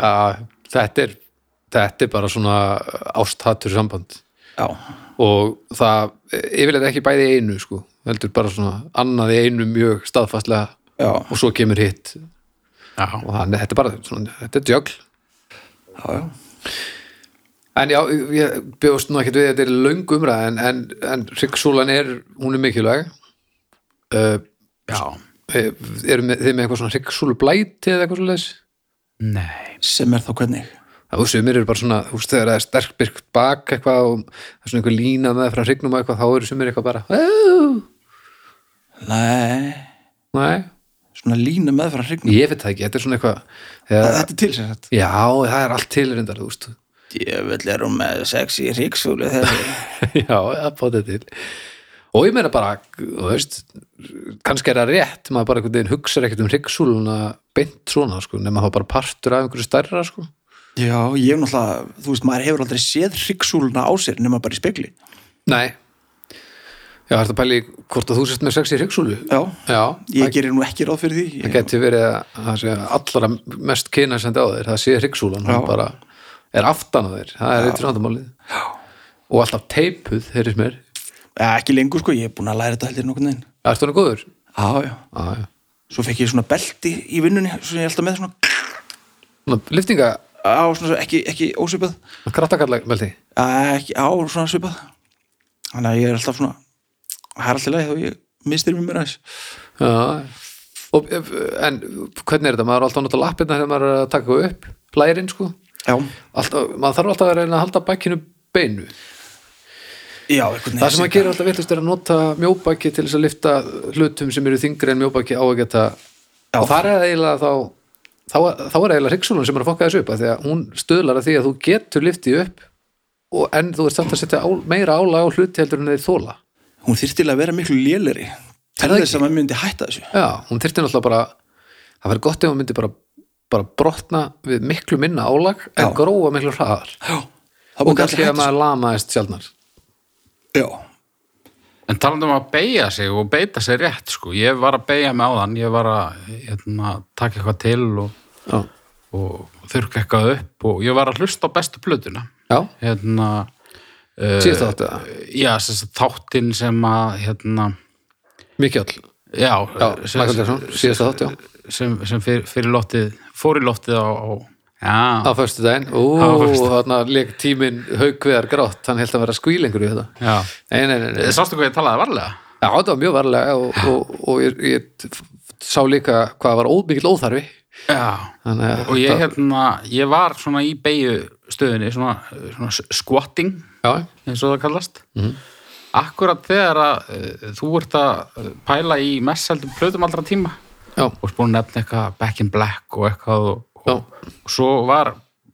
[SPEAKER 1] já, þetta er þetta er bara svona ásthattur samband
[SPEAKER 3] já.
[SPEAKER 1] og það yfirleitt ekki bæði í einu sko, heldur bara svona annað í einu mjög staðfastlega
[SPEAKER 3] Já.
[SPEAKER 1] og svo kemur hitt
[SPEAKER 2] já,
[SPEAKER 1] og þannig, þetta er bara svona, þetta er djögl
[SPEAKER 3] Já, já.
[SPEAKER 1] En já, ég bjóst nú ekkert við að þetta er löng umræð en, en, en hryggsúlan er, hún er mikilvæg uh,
[SPEAKER 2] Já,
[SPEAKER 1] erum með, þið með eitthvað svona hryggsúlublæti eða eitthvað svoleiðis?
[SPEAKER 2] nei
[SPEAKER 3] sem er þá hvernig
[SPEAKER 1] Það þú sumir eru bara svona, þú veist þegar það er sterkbyrkt bak eitthvað og það er svona einhver lína með frá hryggnum og eitthvað, þá eru sumir eitthvað bara "Ó,
[SPEAKER 3] Nei,
[SPEAKER 1] Nei,
[SPEAKER 3] svona lína meðfæra hrygnum
[SPEAKER 1] ég veit það ekki, þetta er svona eitthvað þegar,
[SPEAKER 3] Þetta er til sér þetta
[SPEAKER 1] Já, það er allt til reyndar, þú veist
[SPEAKER 3] Djöfull er hún með sexy hryggsúlu þessi
[SPEAKER 1] Já, það bóði til Og ég meina bara, þú veist kannski er það rétt, maður bara einhvern veginn hugsar ekkert um hryggsúluna beint svona, sko, nema það var bara partur af einhverju stærra, sko
[SPEAKER 3] Já, ég hef náttúrulega, þú veist, maður hefur aldrei séð hryggsúluna á sér nema bara í spekli
[SPEAKER 1] Nei Já, þetta pæli í hvort að þú sért með sex í hryggsúlu
[SPEAKER 3] Já,
[SPEAKER 1] Já,
[SPEAKER 3] ég
[SPEAKER 1] það-
[SPEAKER 3] gerir nú ekki ráð fyrir því
[SPEAKER 1] það
[SPEAKER 3] Ég-
[SPEAKER 1] geti verið að það sé allra mest kynna sem þetta á þeir það sé hryggsúlan, hún
[SPEAKER 3] Já.
[SPEAKER 1] bara er aftan á þeir, það er eitt vandamálið og alltaf teipuð, heyrðis mér
[SPEAKER 3] Eh, Ekki lengur sko, ég er búin að læra þetta heldur nokkurn veginn
[SPEAKER 1] Það er stóna góður
[SPEAKER 3] Já, já
[SPEAKER 1] Já, já.
[SPEAKER 3] Svo fekk ég svona belti í vinnunni sem ég er alltaf með svona,
[SPEAKER 1] Svona Lyftinga,
[SPEAKER 3] á, svona ekki, ekki ósvipað
[SPEAKER 1] krattakalla meldi
[SPEAKER 3] Eh, ekki, á, svona svipað Þannig að ég er alltaf svona Það er alltaf leið og ég mistir mér mér aðeins
[SPEAKER 1] Já og, eh, En hvernig er þetta? Maður er alltaf að nota lappirna þegar maður er að taka eitthvað upp lærin, sko
[SPEAKER 3] Já,
[SPEAKER 1] alltaf, maður þarf alltaf að reyna að halda bækinu beinu
[SPEAKER 3] já, einhvern
[SPEAKER 1] Það sem maður gerir alltaf vittlust er að nota mjóbæki til þess að lifta hlutum sem eru þingri en mjóbæki á að geta
[SPEAKER 3] Já.
[SPEAKER 1] og það er það eiginlega þá þá, þá er eiginlega hryggsúlan sem er að fokka þessu upp af því að hún stöðlar að því að þú getur liftið upp og en þú ert samt að setja á, meira ála á hluti heldur en þeir þóla
[SPEAKER 3] Hún þyrftilega að vera miklu léleri til
[SPEAKER 1] það
[SPEAKER 3] þess að maður myndi hætta þessu
[SPEAKER 1] Já, hún þyrfti náttúrulega bara það verður gott ef hún myndi bara, bara brotna við miklu minna álag en
[SPEAKER 3] Já.
[SPEAKER 1] gróa miklu hraðar
[SPEAKER 3] Já, það
[SPEAKER 1] og
[SPEAKER 3] búið
[SPEAKER 1] kannski
[SPEAKER 3] allir
[SPEAKER 1] að
[SPEAKER 3] hægt
[SPEAKER 1] maður lamaðist sjálfnar
[SPEAKER 3] Já,
[SPEAKER 2] En talandi um að beigja sig og beita sig rétt, sko. Ég var að beigja mig á þann, ég var að hérna, taka eitthvað til og,
[SPEAKER 1] Já,
[SPEAKER 2] og þurrka eitthvað upp og ég var að hlusta á bestu plötuna.
[SPEAKER 1] já
[SPEAKER 2] Hérna,
[SPEAKER 1] síðast átti það,
[SPEAKER 2] já, sem sagt, þáttinn sem að, hérna,
[SPEAKER 1] mikið all
[SPEAKER 2] já,
[SPEAKER 1] Já,
[SPEAKER 2] sem,
[SPEAKER 1] Michael Jackson, síðast átti, já
[SPEAKER 2] sem, sem fyrir, fyrir loftið, fór í loftið á, á
[SPEAKER 1] á
[SPEAKER 2] já,
[SPEAKER 1] föstu daginn, ú,
[SPEAKER 2] Á föstudaginn.
[SPEAKER 1] þarna leik tíminn haugveðar grátt, hann held að vera skvílengur í þetta,
[SPEAKER 2] já.
[SPEAKER 1] nei, nei, nei, nei.
[SPEAKER 2] Sástu hvað ég talaði varlega?
[SPEAKER 1] Já, það var mjög varlega og, og, og ég, ég sá líka hvað var ómikill óþarfi
[SPEAKER 2] Já.
[SPEAKER 1] Þannig, að
[SPEAKER 2] og ég
[SPEAKER 1] þetta-
[SPEAKER 2] hérna, ég var svona í beigju stöðinni, svona, svona squatting
[SPEAKER 1] Já, Mhm.
[SPEAKER 2] eins og það kallast akkurat þegar að uh, þú ert að eh, pæla í messeldum plötum allra tíma
[SPEAKER 1] já,
[SPEAKER 2] og spúin nefna eitthvað Back in Black og eitthvað og,
[SPEAKER 1] Já.
[SPEAKER 2] og, og svo var,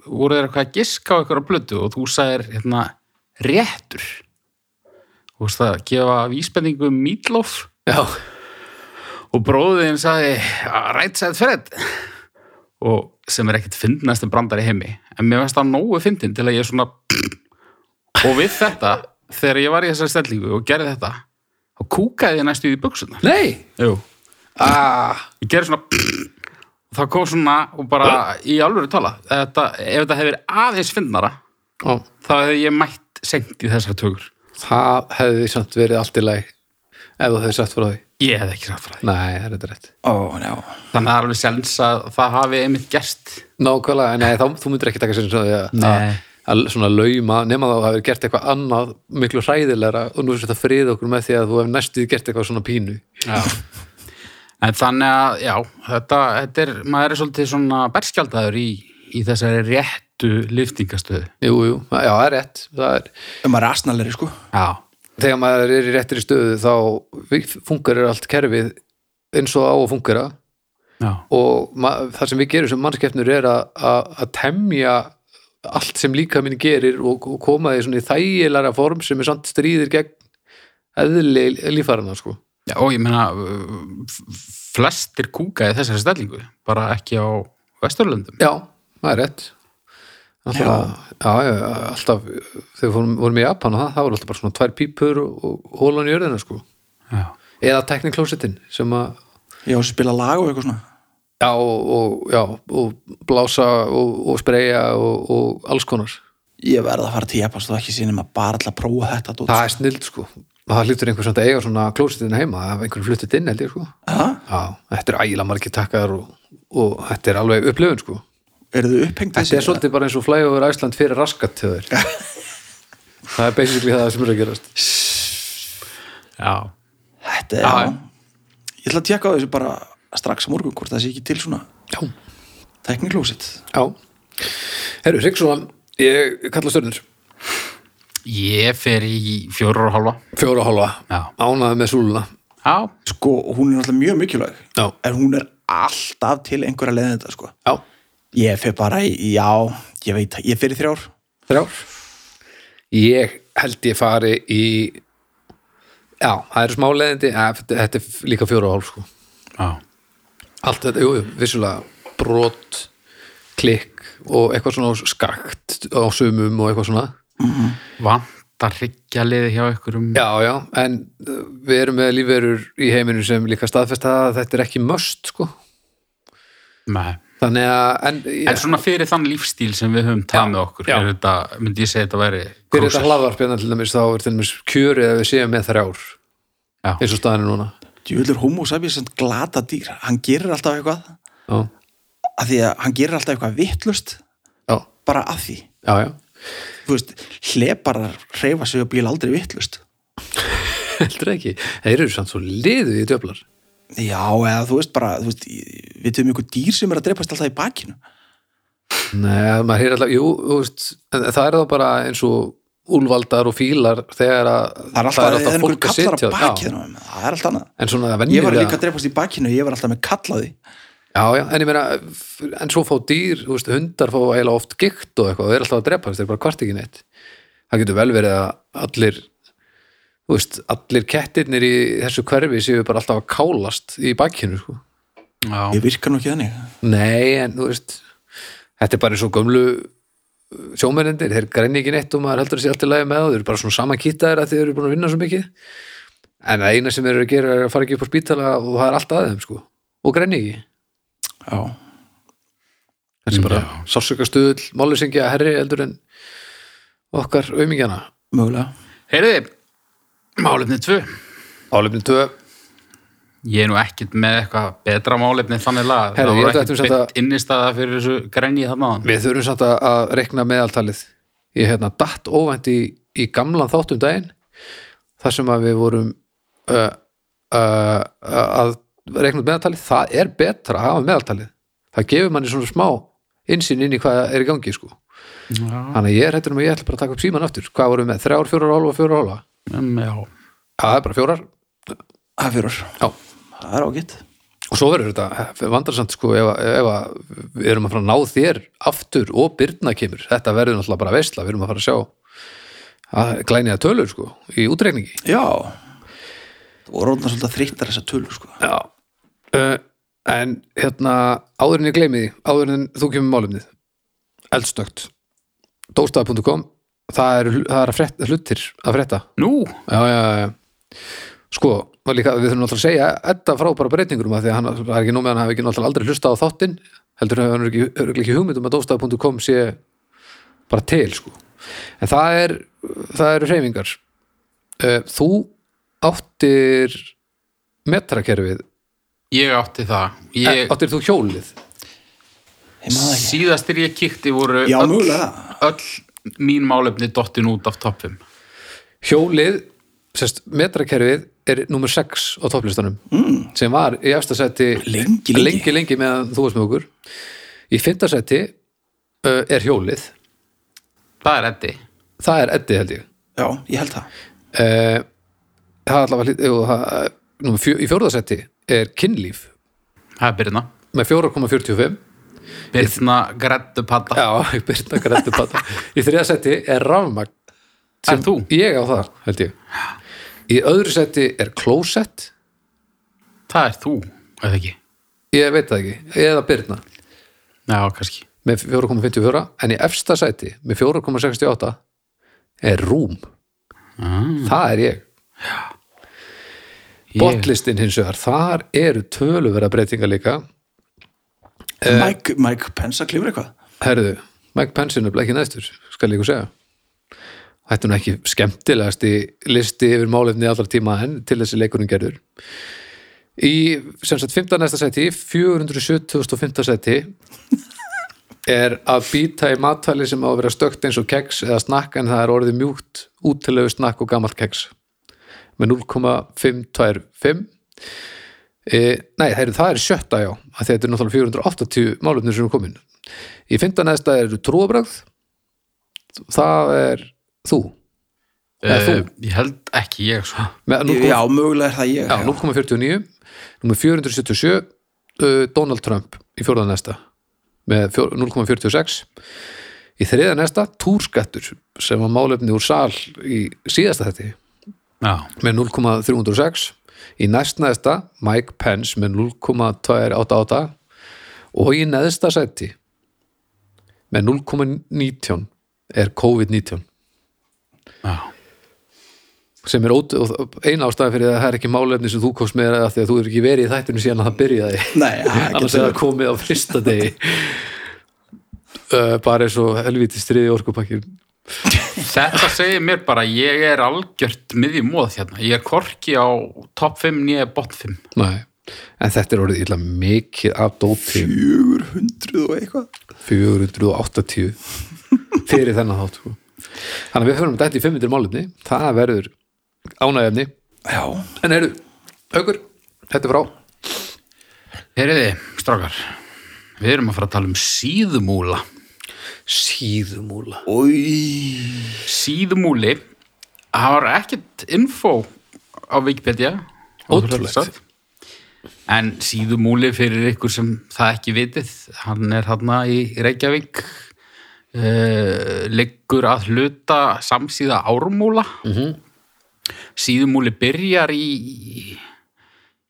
[SPEAKER 2] voru þeir eitthvað að giska á eitthvað plötu og þú sagðir hérna, réttur þú veist að gefa vísbendingu um Meatloaf
[SPEAKER 1] já
[SPEAKER 2] og bróðin sagði right side Fred og sem er ekkit fyndnast en brandar í heimi en mér finnst það nógu fyndin til að ég svona og við þetta þegar ég var í þessari stellingu og gerði þetta þá kúkaði ég næstu í buksuna
[SPEAKER 1] Nei,
[SPEAKER 2] Jú.
[SPEAKER 1] ah,
[SPEAKER 2] ég gerði svona og það kom svona og bara í alvöru tala þetta, ef þetta hefur aðeins fyndnara
[SPEAKER 1] já,
[SPEAKER 2] þá hefði ég mætt sengt í þessar tökur
[SPEAKER 1] það hefði samt verið allt í læg ef þú hefði sagt frá því
[SPEAKER 2] ég hefði ekki sagt frá því
[SPEAKER 1] Nei, það er þetta rétt
[SPEAKER 3] ó,
[SPEAKER 2] þannig
[SPEAKER 3] já
[SPEAKER 2] að það er alveg sens að það hafi einmitt gerst
[SPEAKER 1] Nákvæmlega, nei, þá, þú myndir ekki taka sér svona því að-
[SPEAKER 2] Nei.
[SPEAKER 1] að að svona lauma, nema þá hafi gert eitthvað annað miklu hræðilegra og nú er þetta frið okkur með því að þú hefði næstuð gert eitthvað svona pínu
[SPEAKER 2] Já. En þannig að, já, þetta, þetta er, maður er svolítið svona berskjaldæður í, í þessari réttu liftingastöðu.
[SPEAKER 1] Jú, jú, já, það er rétt það er,
[SPEAKER 3] En maður er asnalegri sko
[SPEAKER 2] Já.
[SPEAKER 1] Þegar maður er í réttri stöðu þá fungerir allt kerfið eins og á að fungera
[SPEAKER 2] Já.
[SPEAKER 1] og ma- það sem við gerum sem mannskeppnur er að- að að temja allt sem líka minn gerir og, og koma því svona í þægilega form sem er samt stríðir gegn eðli lífarana sko
[SPEAKER 2] já. Og ég meina, uh, f- flestir kúka í þessari stellingu, bara ekki á Vesturlöndum.
[SPEAKER 1] Já, það er rétt Alltaf, já. Já, já, alltaf þegar við fórum, vorum í Japan og það, það var alltaf bara svona tvær pípur og, og hólan í jörðina sko
[SPEAKER 2] Já.
[SPEAKER 1] eða tekniklósitin sem að
[SPEAKER 3] Já, sem spila lag og eitthvað svona
[SPEAKER 1] já og, og, já, og blása og, og spreja og, og alls konar
[SPEAKER 3] Ég verð að fara til Japans og ekki sinni maður bara alltaf að prófa þetta dót.
[SPEAKER 1] það er snild sko það hlýtur einhver samt að eiga svona klósitin heima af einhverjum fluttit inn held ég sko
[SPEAKER 3] Ha?
[SPEAKER 1] já, þetta er ægilega margir takkar og, og þetta er alveg upplifun sko
[SPEAKER 3] eru þau upphengt
[SPEAKER 1] Þetta er svolítið bara eins og flæg over Æsland fyrir raskat til þeir Það er basically það sem er að gerast
[SPEAKER 2] Já.
[SPEAKER 3] Þetta er,
[SPEAKER 2] Já,
[SPEAKER 3] já. Ég ætla að tjekka á þessu bara strax á morgun hvort það sé ekki til svona
[SPEAKER 1] Já,
[SPEAKER 3] tekniklósit.
[SPEAKER 1] já Herru, Sigson, ég kalla stjörnur
[SPEAKER 2] Ég fer í fjórar og halva.
[SPEAKER 1] fjóra og hálfa,
[SPEAKER 2] Já.
[SPEAKER 1] ánaði með súluna
[SPEAKER 2] Já.
[SPEAKER 3] Sko, hún er náttúrulega mjög mikilvæg,
[SPEAKER 1] Já.
[SPEAKER 3] en hún er alltaf til einhverja leiðin þetta, sko.
[SPEAKER 1] Já,
[SPEAKER 3] Ég fer bara í, já, ég veit, það, ég fer í þrjár.
[SPEAKER 1] þrjár Ég held ég fari í Já, það eru smá leðindi ja, þetta- Þetta er líka fjóra og hálf sko
[SPEAKER 2] Já.
[SPEAKER 1] Allt þetta, jú, jú, vissulega brot, klikk og eitthvað svona skakt á sumum og eitthvað svona
[SPEAKER 2] Vantar hryggja liði hjá ykkur um...
[SPEAKER 1] Já, já, en uh, við erum með lífverur í heiminum sem líka staðfesta að þetta er ekki möst, sko.
[SPEAKER 2] Nei.
[SPEAKER 1] Þannig að, en,
[SPEAKER 2] En svona fyrir þann lífstíl sem við höfum tað með okkur,
[SPEAKER 1] já.
[SPEAKER 2] er þetta, myndi ég segja þetta væri
[SPEAKER 1] fyrir þetta
[SPEAKER 2] krósir.
[SPEAKER 1] hlaðvarpjana til dæmis, þá er til dæmis kjörið að við séum með þrjár,
[SPEAKER 2] Já.
[SPEAKER 1] eins og staðinu núna.
[SPEAKER 3] Djúvöldur homo sapiens sem glata dýr, hann gerir alltaf eitthvað,
[SPEAKER 1] Já,
[SPEAKER 3] af því að hann gerir alltaf eitthvað vittlust,
[SPEAKER 1] já,
[SPEAKER 3] bara af því.
[SPEAKER 1] já, já.
[SPEAKER 3] Þú veist, hleparar reyfa sig og bíl aldrei vittlust.
[SPEAKER 1] Heldur ekki. Þeir eru samt svo liðu í djöflar.
[SPEAKER 3] Já, eða þú veist bara, þú veist, í- við töfum ykkur dýr sem er að dreipast alltaf í bakinu.
[SPEAKER 1] Nei, maður heyr alltaf, jú, þú veist, en það er þá bara eins og úlvaldar og fílar þegar að
[SPEAKER 3] Það er alltaf, það er alltaf
[SPEAKER 1] fólk að
[SPEAKER 3] kallar
[SPEAKER 1] sitja.
[SPEAKER 3] á
[SPEAKER 1] Já,
[SPEAKER 3] bakinu, það er alltaf annað.
[SPEAKER 1] en svona
[SPEAKER 3] Ég var líka
[SPEAKER 1] venjulega.
[SPEAKER 3] að dreipast í bakinu, ég var alltaf með kallaði.
[SPEAKER 1] Já, já, en ég meina, en svo fá dýr, þú veist, hundar fá eiginlega oft gikt og eitthvað, þau eru alltaf að drepa, þess, þeir bara kvart ekki neitt. Það getur vel verið að allir, þú veist, allir kettirnir í þessu hverfi séu bara alltaf að kálast í bakkinu, sko.
[SPEAKER 2] Já.
[SPEAKER 3] Ég virka nú ekki þannig.
[SPEAKER 1] Nei, en þú veist, þetta er bara eins og gömlu sjómennendir, þeir græni ekki neitt og maður heldur að sé allt í lagi með og þeir eru bara svona saman kýtaðir að þeir eru búin að vinna svo mikið. En það eina sem þeir eru að gera er að fara ekki upp á spítala og það er allt að þeim, sko, og græni ekki.
[SPEAKER 3] Já.
[SPEAKER 1] þessi bara sásökastuðul, málusingja herri eldur en okkar aumingjana.
[SPEAKER 3] Mögulega.
[SPEAKER 2] Heyriði, málefni tvö.
[SPEAKER 1] Álefni 2,
[SPEAKER 2] Ég er nú ekkert með eitthvað betra málefni þannig lagað.
[SPEAKER 1] Herra,
[SPEAKER 2] Það
[SPEAKER 1] ég
[SPEAKER 2] voru
[SPEAKER 1] ætla
[SPEAKER 2] ekkert
[SPEAKER 1] þetta-
[SPEAKER 2] beint innistæða fyrir þessu grenji þarna á hann.
[SPEAKER 1] við þurfum samt að- að rekna meðaltalið. Ég hérna datt óvænt í, í gamlan þáttum daginn þar sem að við vorum uh, uh, að rekna út meðaltalið, það er betra að hafa meðaltalið. Það gefur manni svona smá innsýn inn í hvað er í gangi sko. Þannig að ég er hættur um að ég ætla bara að taka upp síman aftur. Hvað vorum við með? Þrjár, fjórar, hálfa, fjórar, hálfa?
[SPEAKER 2] Um,
[SPEAKER 1] Mm,
[SPEAKER 2] já.
[SPEAKER 1] Það er bara fjórar.
[SPEAKER 3] Það fyrir.
[SPEAKER 1] Já.
[SPEAKER 3] Það er ágætt.
[SPEAKER 1] og svo verður þetta vandarsamt sko ef, að- ef að við erum að fara að ná þér aftur og Byrna kemur þetta verður náttúrulega bara veistla, við erum að fara að sjá að glæniða tölur sko í útreikningi
[SPEAKER 3] Já. Það voru orðna svolítið þreyttar þessa tölu, sko.
[SPEAKER 1] Já uh, En hérna, áður en ég gleymi því áður en þú kemur með málumnið eldstökt dóstað.com, það er, það er að frett, hlutir að fretta
[SPEAKER 2] Nú,
[SPEAKER 1] já, já, já. sko, og líka, við þurfum náttúrulega að segja Edda frábæra breytingur um að því að hann það er ekki nómið hann hafi ekki náttúrulega aldrei hlustað á þáttinn heldur hefur hann ekki, örugglega ekki hugmynd um að dóstað.com sé bara til sko. en það er það eru hreyfingar Eh, þú áttir metrakerfið,
[SPEAKER 2] ég átti það.
[SPEAKER 1] ég...
[SPEAKER 2] Ég,
[SPEAKER 1] áttir þú hjólið
[SPEAKER 3] Ég maður ekki.
[SPEAKER 2] síðastir ég kíkti voru
[SPEAKER 3] Já,
[SPEAKER 2] öll,
[SPEAKER 3] mögulega.
[SPEAKER 2] öll mín málefni dottin út af toppum.
[SPEAKER 1] hjólið sérst, metrakerfið er nummer 6 á topplistanum mm. sem var í efsta seti
[SPEAKER 3] Lengi, lengi.
[SPEAKER 1] lengi, lengi meðan þú varst með okkur í fynda seti uh, er hjólið
[SPEAKER 2] Það er eddi.
[SPEAKER 1] það er eddi held ég
[SPEAKER 3] Já, ég held það.
[SPEAKER 1] uh, það er allavega hlýt- jú, það- númer fjö, í fjórða seti er kynlíf
[SPEAKER 2] Það er Birna.
[SPEAKER 1] með 4,45
[SPEAKER 2] Birna grættu padda.
[SPEAKER 1] já, ég byrna grættu pata í þriða seti er rafmagn
[SPEAKER 2] Það er þú.
[SPEAKER 1] ég á það held ég í öðru seti er klósett
[SPEAKER 2] Það er þú, eða ekki?
[SPEAKER 1] ég veit það ekki, eða byrna
[SPEAKER 2] Já, kannski.
[SPEAKER 1] með 4,54 en í efsta sæti með 4,68 er rúm það er ég botlistin hins vegar þar eru töluvera breytingar líka
[SPEAKER 3] Mike, Mike Pence að klifra eitthvað.
[SPEAKER 1] herðu, Mike Pence er nefnilega ekki næstur skal ég ykkur segja þetta er nú ekki skemmtilegast í listi yfir málefni allra tíma en til þessi leikurinn gerður í sem sagt 15. næsta sæti 475. sæti er að býta í matvæli sem á að vera stökt eins og keks eða snakk en það er orðið mjúkt útilegu snakk og gamalt keks með 0,525 e, nei, heyrðu, það er sjötta já að þetta er náttúrulega 480 málefnir sem eru komin í fynda neðsta eru trúabrögð það er þú Eða þú?
[SPEAKER 2] Eh, ég held ekki ég sko.
[SPEAKER 1] með 0,5
[SPEAKER 3] Já, mögulega er það ég
[SPEAKER 1] Já, 0,49 Númer 477 uh, Donald Trump í fjórðan næsta með fjó- 0,46 Í þriða næsta túrskattur sem var málefni úr sal í síðasta þetta
[SPEAKER 2] já,
[SPEAKER 1] með 0,306 Í næst næsta Mike Pence með 0,288 og í neðsta sæti með 0,19 er COVID-19
[SPEAKER 2] já,
[SPEAKER 1] sem er ót, eina ástæðan fyrir að það er ekki málefni sem þú komst með að því að þú er ekki verið í þættinu síðan að það byrjaði
[SPEAKER 3] Nei, það er
[SPEAKER 1] annars er það komið á fyrsta degi uh, bara eins og helvítið striði orkupakkin
[SPEAKER 2] Þetta segir mér bara, ég er algjört miðjum móð hérna. Ég er korki á top 5 nýja bot 5.
[SPEAKER 1] Nei. en þetta er orðið illa mikið af dóti
[SPEAKER 3] 400 og eitthvað
[SPEAKER 1] 480 fyrir þennan þátt sko. þannig að við höfum þetta í 500 málefni það verður ánægjefni
[SPEAKER 3] Já,
[SPEAKER 1] en eru, aukur, þetta er frá
[SPEAKER 2] Heyriði, strákar, við erum að fara að tala um síðumúla.
[SPEAKER 1] síðumúla
[SPEAKER 3] oi
[SPEAKER 2] Síðumúli, það var ekkert info á Wikipedia.
[SPEAKER 1] Ótrúlegt.
[SPEAKER 2] Ótrúlegt. En síðumúli fyrir ykkur sem það ekki vitið, hann er þarna í Reykjavík, uh, liggur að hluta samsíða ármúla.
[SPEAKER 3] Mhm.
[SPEAKER 2] Síðumúli byrjar í,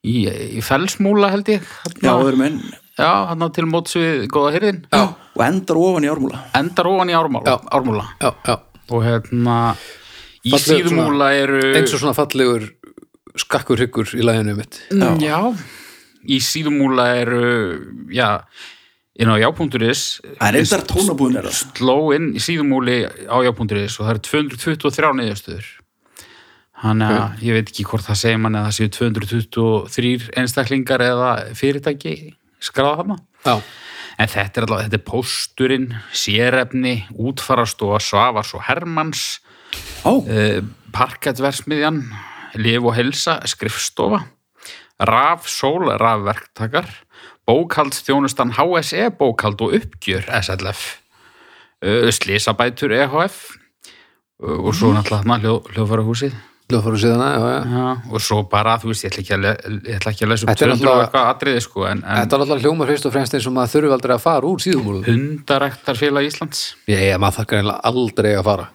[SPEAKER 2] í, í felsmúla held ég.
[SPEAKER 3] Já,
[SPEAKER 2] þarna-
[SPEAKER 3] öðrum enn
[SPEAKER 2] Já, hann til móts við góða hyrðin.
[SPEAKER 3] Já, og endar ofan í ármúla
[SPEAKER 2] Endar ofan í ármúla. ármúla.
[SPEAKER 1] já, já.
[SPEAKER 2] Og hérna, í
[SPEAKER 1] Fallegur
[SPEAKER 2] síðumúla eru...
[SPEAKER 1] eins og svona fallegur skakkur hyggur í læginu mitt
[SPEAKER 2] Mm, Já. Í síðumúla eru, já, inn á já.is
[SPEAKER 3] Það er endar tónabúðin er það
[SPEAKER 2] sló inn í síðumúli á já.is og það eru 223 niðurstöður. Þannig að ég veit ekki hvort það segir mann að það séu 223 einstaklingar eða fyrirtæki skráða þarna.
[SPEAKER 1] já,
[SPEAKER 2] En þetta er allavega, þetta er pósturinn, sérefni, útfarastofa, svafars og hermanns,
[SPEAKER 3] Ó.
[SPEAKER 2] eh, parkettversmiðjan, lif og helsa, skrifstofa, raf, sól, rafverktakar, bókaldstjónustan HSE, bókald E, og uppgjör, SLF, eh, slisabætur EHF, eh, og svo
[SPEAKER 1] Mhm.
[SPEAKER 2] náttúrulega þarna hljó, hljófara húsið
[SPEAKER 1] hljóðfóru síðana, já, já
[SPEAKER 2] já, og svo bara, þú veist, ég ætla ekki að, le- ég ætla ekki að lesa upp
[SPEAKER 1] Þetta er
[SPEAKER 2] 200 og
[SPEAKER 1] náttúrulega-
[SPEAKER 2] eitthvað atriði sko, en, en
[SPEAKER 1] Þetta er alltaf hljómar fyrst og fremst eins og maður þurfi aldrei að fara úr síðumúlu.
[SPEAKER 2] hundaræktarfélag Íslands
[SPEAKER 1] Ég, ég, maður þakkar eiginlega aldrei að fara.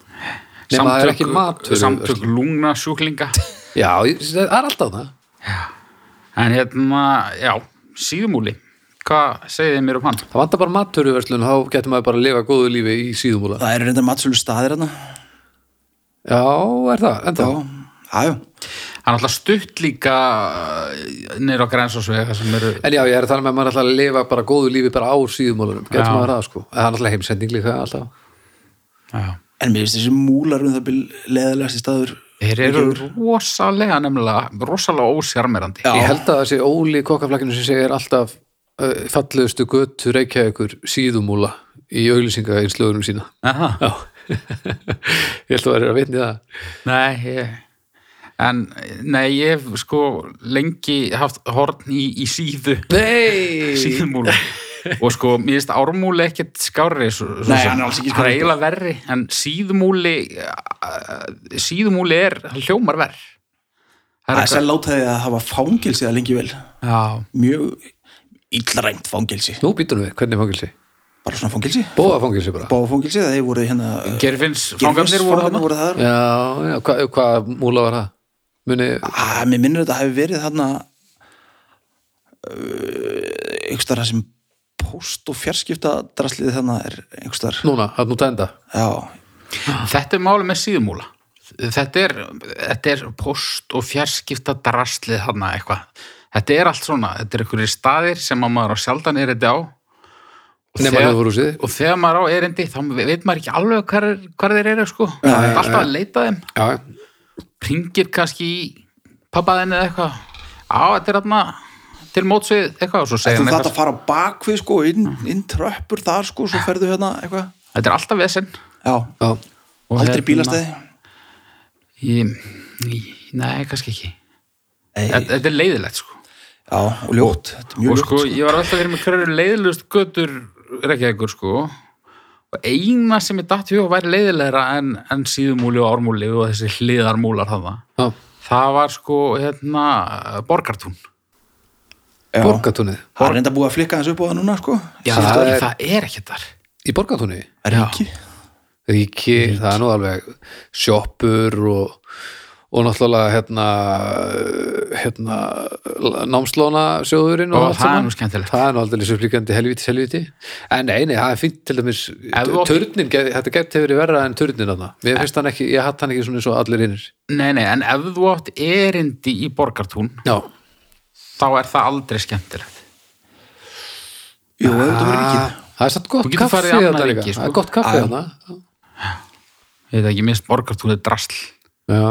[SPEAKER 1] Nei, maður er ekki matur.
[SPEAKER 2] samtök lungna sjúklinga
[SPEAKER 1] Já, ég- það er alltaf það.
[SPEAKER 2] en hérna, já, síðumúli hvað segið þið mér um hann?
[SPEAKER 1] Það vantar bara maturverslun, þá getur maður bara að lifa góðu lífi í síðumúla.
[SPEAKER 3] Það eru reyndar matsölu staðir hérna
[SPEAKER 1] Já, er það, enda.
[SPEAKER 3] Já, já, já
[SPEAKER 2] hann er alltaf stutt líka nýr á grænsásvega sem eru
[SPEAKER 1] En já, ég er að tala með að maður er alltaf að lifa bara góðu lífi bara á síðumúlunum. Getur
[SPEAKER 2] Já.
[SPEAKER 1] maður það, sko. En Það er alltaf heimsending líka alltaf.
[SPEAKER 2] já.
[SPEAKER 3] En mér finnst þessi múlar um það leðalegasti staður
[SPEAKER 2] þeir eru rosalega nefnilega rosalega ósjarmerandi
[SPEAKER 1] Ég held að þessi Óli kokkaflakkinu sem segir alltaf uh, fallegustu götu reykjaðugur síðumúla í auglýsinga sína.
[SPEAKER 2] Aha.
[SPEAKER 1] Já. ég held að vera að vitni það.
[SPEAKER 2] Nei, ég, en nei, ég hef sko lengi haft horn í, í síðu
[SPEAKER 1] Nei!
[SPEAKER 2] síðumúla og sko, mér finnst ármúli ekkert skári svo, svo
[SPEAKER 3] Nei,
[SPEAKER 2] sem.
[SPEAKER 3] hann er alls
[SPEAKER 2] hann
[SPEAKER 3] ekki
[SPEAKER 2] er
[SPEAKER 3] skárri.
[SPEAKER 2] eiginlega verri en síðumúli uh, síðumúli er, hann hljómar verð
[SPEAKER 3] Það er sér látaði að hafa fangilsi að lengi vel
[SPEAKER 2] já,
[SPEAKER 3] Mjög illræmt fangilsi
[SPEAKER 1] Nú býtum við, hvernig fangilsi?
[SPEAKER 3] Bara svona fangilsi
[SPEAKER 1] Bóða fangilsi bara.
[SPEAKER 3] Báfangilsi, það hefur voru hérna
[SPEAKER 2] gerfinns fangarnir voru
[SPEAKER 3] Fangarnir
[SPEAKER 2] þarna
[SPEAKER 3] voru þar
[SPEAKER 1] Já, já, hvað hva múla var það? Muni,
[SPEAKER 3] Æ, mér Ah, minnir þetta hafi verið þarna uh, einhvers þar sem póst og fjarskipta draslið þarna er einhvers þar
[SPEAKER 1] núna, að nú tenda.
[SPEAKER 3] já,
[SPEAKER 2] þetta er máli með síðumúla þetta er, þetta er post og fjarskipta draslið hana eitthvað þetta er allt svona, þetta er einhverjir staðir sem að maður á sjaldan er þetta á Og
[SPEAKER 1] Nema
[SPEAKER 2] þegar-
[SPEAKER 1] hljóðfúrhúsið.
[SPEAKER 2] og þegar maður á erindi þá veit maður ekki alveg hvar, hvar þeir eru sko, Það er alltaf að leita þeim
[SPEAKER 1] Já,
[SPEAKER 2] ringir kannski í pappaðinni eða eitthvað á, þetta er þarna þetta til mótsvið eitthvað og svo segja
[SPEAKER 3] Þú
[SPEAKER 2] hann
[SPEAKER 3] þarft að
[SPEAKER 2] eitthvað
[SPEAKER 3] fara á bakvið sko, inn,
[SPEAKER 2] Mhm.
[SPEAKER 3] inn tröppur þar sko, svo ferðu hérna eitthvað.
[SPEAKER 2] Þetta er alltaf vesinn
[SPEAKER 3] Já,
[SPEAKER 1] já,
[SPEAKER 3] aldrei
[SPEAKER 2] hérna-
[SPEAKER 3] bílastæði.
[SPEAKER 2] Nei, kannski ekki
[SPEAKER 3] Nei.
[SPEAKER 2] Þetta þetta er leiðilegt sko
[SPEAKER 3] Já, og ljótt, þetta er mjög
[SPEAKER 2] og
[SPEAKER 3] ljótt.
[SPEAKER 2] sko, ég var alltaf fyrir mig hverju leiðilegust götur Reykjavíkur sko og eina sem ég datt við og væri leiðilegra en, en síðumúli og ármúli og þessi hliðarmúlar þarna
[SPEAKER 1] já.
[SPEAKER 2] það var sko, hérna, borgartún
[SPEAKER 3] Já.
[SPEAKER 1] Borgatúnið,
[SPEAKER 3] Það er enda búið að flikka þessu upp á það núna sko.
[SPEAKER 2] Já,
[SPEAKER 1] það
[SPEAKER 2] það,
[SPEAKER 1] er-
[SPEAKER 2] er, það er ekki þar
[SPEAKER 1] í borgatúnið
[SPEAKER 3] Ríki.
[SPEAKER 1] ríki, það er nú alveg sjoppur og, og náttúrulega hérna, hérna námslóna sjóðurinn
[SPEAKER 2] Ó,
[SPEAKER 1] og allt
[SPEAKER 2] það er
[SPEAKER 1] saman.
[SPEAKER 2] nú skemmtilegt.
[SPEAKER 1] það er nú aldrei supplíkandi helvíti, helvíti en nei, nei, það er fínt til dæmis
[SPEAKER 2] Ef þú átt-
[SPEAKER 1] törnin, gæti- þetta gæti hefur verið verra en törnin þarna, mér finnst hann ekki, ég hatt hann ekki svona eins og allir innir
[SPEAKER 2] Nei, nei, en ef þú átt erindi í borgartún
[SPEAKER 1] já,
[SPEAKER 2] þá er það aldrei skemmtilegt
[SPEAKER 3] Jú, þetta var ríkið.
[SPEAKER 1] það er satt gott
[SPEAKER 2] Þú getur
[SPEAKER 1] kaffi
[SPEAKER 2] farið í annað
[SPEAKER 1] þarna
[SPEAKER 2] ríki,
[SPEAKER 1] líka.
[SPEAKER 2] sko.
[SPEAKER 1] það er gott kaffi
[SPEAKER 3] Já.
[SPEAKER 1] þarna
[SPEAKER 2] Ég veit ekki, minnst borgartún er drasl
[SPEAKER 1] já,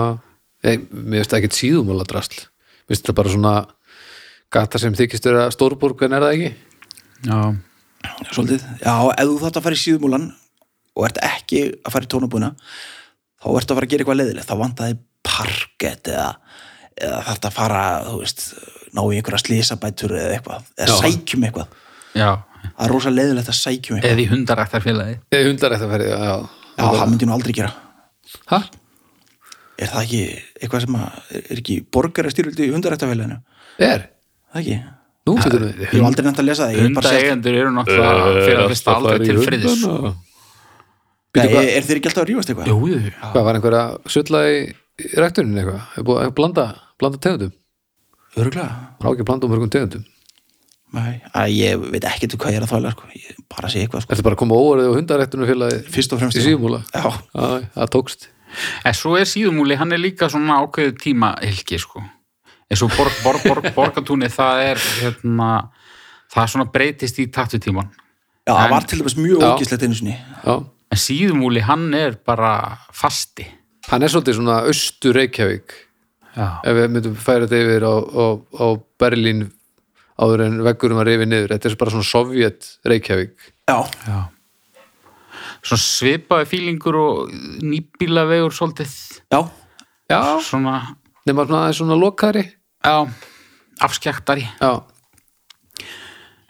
[SPEAKER 1] nei, mér finnst það ekkit síðumóla drasl mér finnst það bara svona gata sem þykist vera stórborg en er það ekki?
[SPEAKER 2] Já,
[SPEAKER 3] Svolítið. Já, ef þú þátt að fara í síðumúlan og ert ekki að fara í tónabúna þá ertu að fara að gera eitthvað leiðilegt þá vantaði parkett eða, eða þarft að fara, þú veist ná í einhverja slísabætur eða eitthvað eða
[SPEAKER 1] Já.
[SPEAKER 3] sækjum eitthvað.
[SPEAKER 2] já,
[SPEAKER 3] Það er rosa leiðilegt að sækjum eitthvað.
[SPEAKER 2] eða í hundarættarfélagi
[SPEAKER 1] Nei, hundarættarferði, já, já.
[SPEAKER 3] Já, það myndi ég nú aldrei gera.
[SPEAKER 1] Hæ?
[SPEAKER 3] Er það ekki eitthvað sem að, er- er ekki borgarastýrvildi í hundarættafélaginu?
[SPEAKER 1] Er?
[SPEAKER 3] Það ekki?
[SPEAKER 1] Nú fyrir við.
[SPEAKER 3] Ég hef aldrei nefnt að lesa það. Ég hef bara sett-
[SPEAKER 2] Hundaeigendur eru náttúrulega
[SPEAKER 1] Eh,
[SPEAKER 2] fyrir að fyrsta aldrei til friðis
[SPEAKER 3] Nei, er, er þeir ekki alltaf að rífast eitthvað?
[SPEAKER 2] Jú, jú,
[SPEAKER 1] Hvað var einhver að sulla í í ræktuninni eitthvað? Er búið að blanda, blanda tegundum?
[SPEAKER 3] Öruglega.
[SPEAKER 1] Má ekki að blanda um mörgum tegundum.
[SPEAKER 3] Nei, að ég veit ekkert um hvað ég er að þvæla, sko. Ég bara sé eitthvað, sko.
[SPEAKER 1] Ertu bara að koma óvarðið á hundarættunum félagi
[SPEAKER 3] Fyrst og fremst.
[SPEAKER 1] í
[SPEAKER 3] já.
[SPEAKER 1] síðumúla?
[SPEAKER 3] Já,
[SPEAKER 1] Já, það tókst.
[SPEAKER 2] En svo er síðumúli, hann er líka svona ákveðið tímahylki, sko. En svo borg, borg, borg, borgatúni, það er, hérna, það svona breytist í taktu tíman.
[SPEAKER 3] já það
[SPEAKER 2] En-
[SPEAKER 3] var til dæmis mjög
[SPEAKER 1] Já.
[SPEAKER 3] ógislegt einu sinni.
[SPEAKER 1] Já.
[SPEAKER 2] En síðumúli, hann er bara fasti.
[SPEAKER 1] Hann er svolítið svona austur Reykjavík.
[SPEAKER 2] Já.
[SPEAKER 1] Ef við myndum færa þetta yfir á, á, á Berlín áður en veggurum að reyfi niður. Þetta er bara svona Sovjet Reykjavík.
[SPEAKER 3] Já,
[SPEAKER 2] Svona svipaði fílingur og nýbílavegur svolítið.
[SPEAKER 3] já,
[SPEAKER 1] Já.
[SPEAKER 2] Svona,
[SPEAKER 1] Nefna svona, aðeins svona lokari.
[SPEAKER 2] já, afskjaktari.
[SPEAKER 1] Já.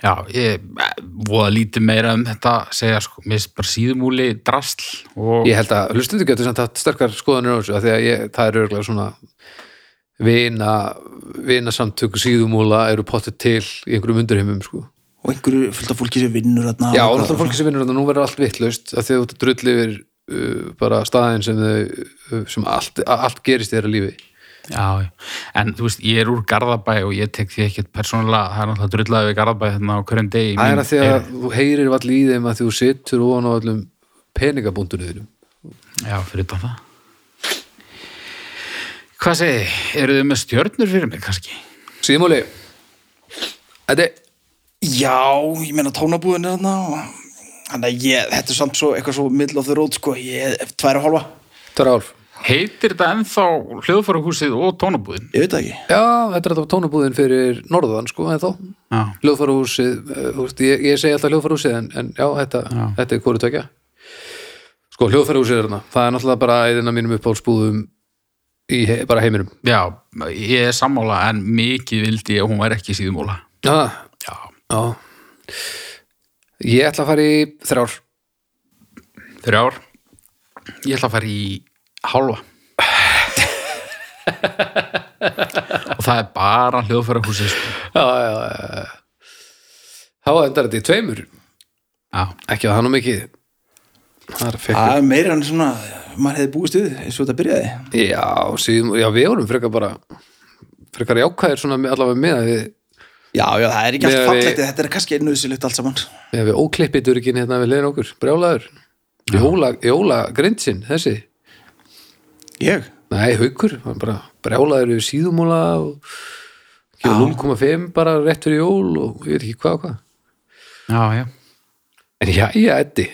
[SPEAKER 2] Já, ég eh, voða lítið meira um þetta að segja, sko, mér finnst bara síðumúli drasl og...
[SPEAKER 1] Ég held að hlustundu getur samt hatt sterkar skoðanir á þessu af því að ég, það er örgulega svona vina, vina samtök síðumúla eru pottet til í einhverjum undurheimum sko.
[SPEAKER 3] og einhverju fullt af fólki sem vinnur þarna.
[SPEAKER 1] Já, og
[SPEAKER 3] og
[SPEAKER 1] náttúrulega fólki sem vinnur þetta nú verður allt vittlaust af því að þú ert að drulli yfir uh, bara staðin sem, þau, uh, sem allt, a- allt gerist í þeirra lífi
[SPEAKER 2] Já, já. en þú veist, ég er úr Garðabæ og ég tek því ekkert persónulega, það er náttúrulega drullaði við Garðabæ hérna á hverjum degi. í
[SPEAKER 1] Það er
[SPEAKER 2] mín
[SPEAKER 1] að því að
[SPEAKER 2] eyru.
[SPEAKER 1] þú heyrir vall í þeim að þú situr ofan á allum peningabúndunum þínum
[SPEAKER 2] Já, fyrir utan það. Hvað segi, eru þið með stjörnur fyrir mig kannski?
[SPEAKER 1] Síðumúli Þetta er
[SPEAKER 3] Já, ég meina tónabúðinu þarna og... Þannig að ég, þetta er samt svo eitthvað svo middle of the road, sko. Ég, tværa hálfa,
[SPEAKER 1] Tara Álf
[SPEAKER 2] Heitir þetta ennþá hljóðfærahúsið og tónabúðin?
[SPEAKER 3] ég veit það ekki.
[SPEAKER 1] Já, þetta er þetta tónabúðin fyrir norðan sko, en þá
[SPEAKER 2] Já,
[SPEAKER 1] hljóðfarahúsið, eh, þú veist, ég, ég segi alltaf hljóðfarahúsið en, en já, þetta, þetta er hvori tvekja sko, hljóðfarahúsið er þarna það er náttúrulega bara einn af mínum uppáhaldsbúðum í he, bara heiminum
[SPEAKER 2] já, ég er sammála en mikið vildi ég að hún væri ekki síðumóla.
[SPEAKER 1] ah,
[SPEAKER 2] Já,
[SPEAKER 1] já ég ætla að fara í þrjár
[SPEAKER 2] þrjár. Ég ætla að fara í hálfa. og það er bara hljóðfærahúsið. sko.
[SPEAKER 1] já, já, já, já þá endar þetta í tveimur
[SPEAKER 2] Já.
[SPEAKER 1] ekki að það nú mikið það er fekk
[SPEAKER 3] Það er meira en svona, maður hefði búist við eins og þetta byrjaði.
[SPEAKER 1] já, síðum, já, við vorum frekar bara frekar jákvæðir svona með- allavega með að við
[SPEAKER 3] Já, já, það er ekki
[SPEAKER 1] Miðað
[SPEAKER 3] allt
[SPEAKER 1] við-
[SPEAKER 3] fallegt, þetta er kannski nöðsilegt allt saman.
[SPEAKER 1] Við hefum óklippið durgin hérna við leiðin okkur, brjálaður Jóla, jóla grindsinn, þessi
[SPEAKER 3] Ég?
[SPEAKER 1] Nei, haukur, hann bara brjálaður við síðumúla og gefur 0,5 bara rétt fyrir jól og ég veit ekki hvað og hvað
[SPEAKER 2] Já, já.
[SPEAKER 1] En já, já, Eddi,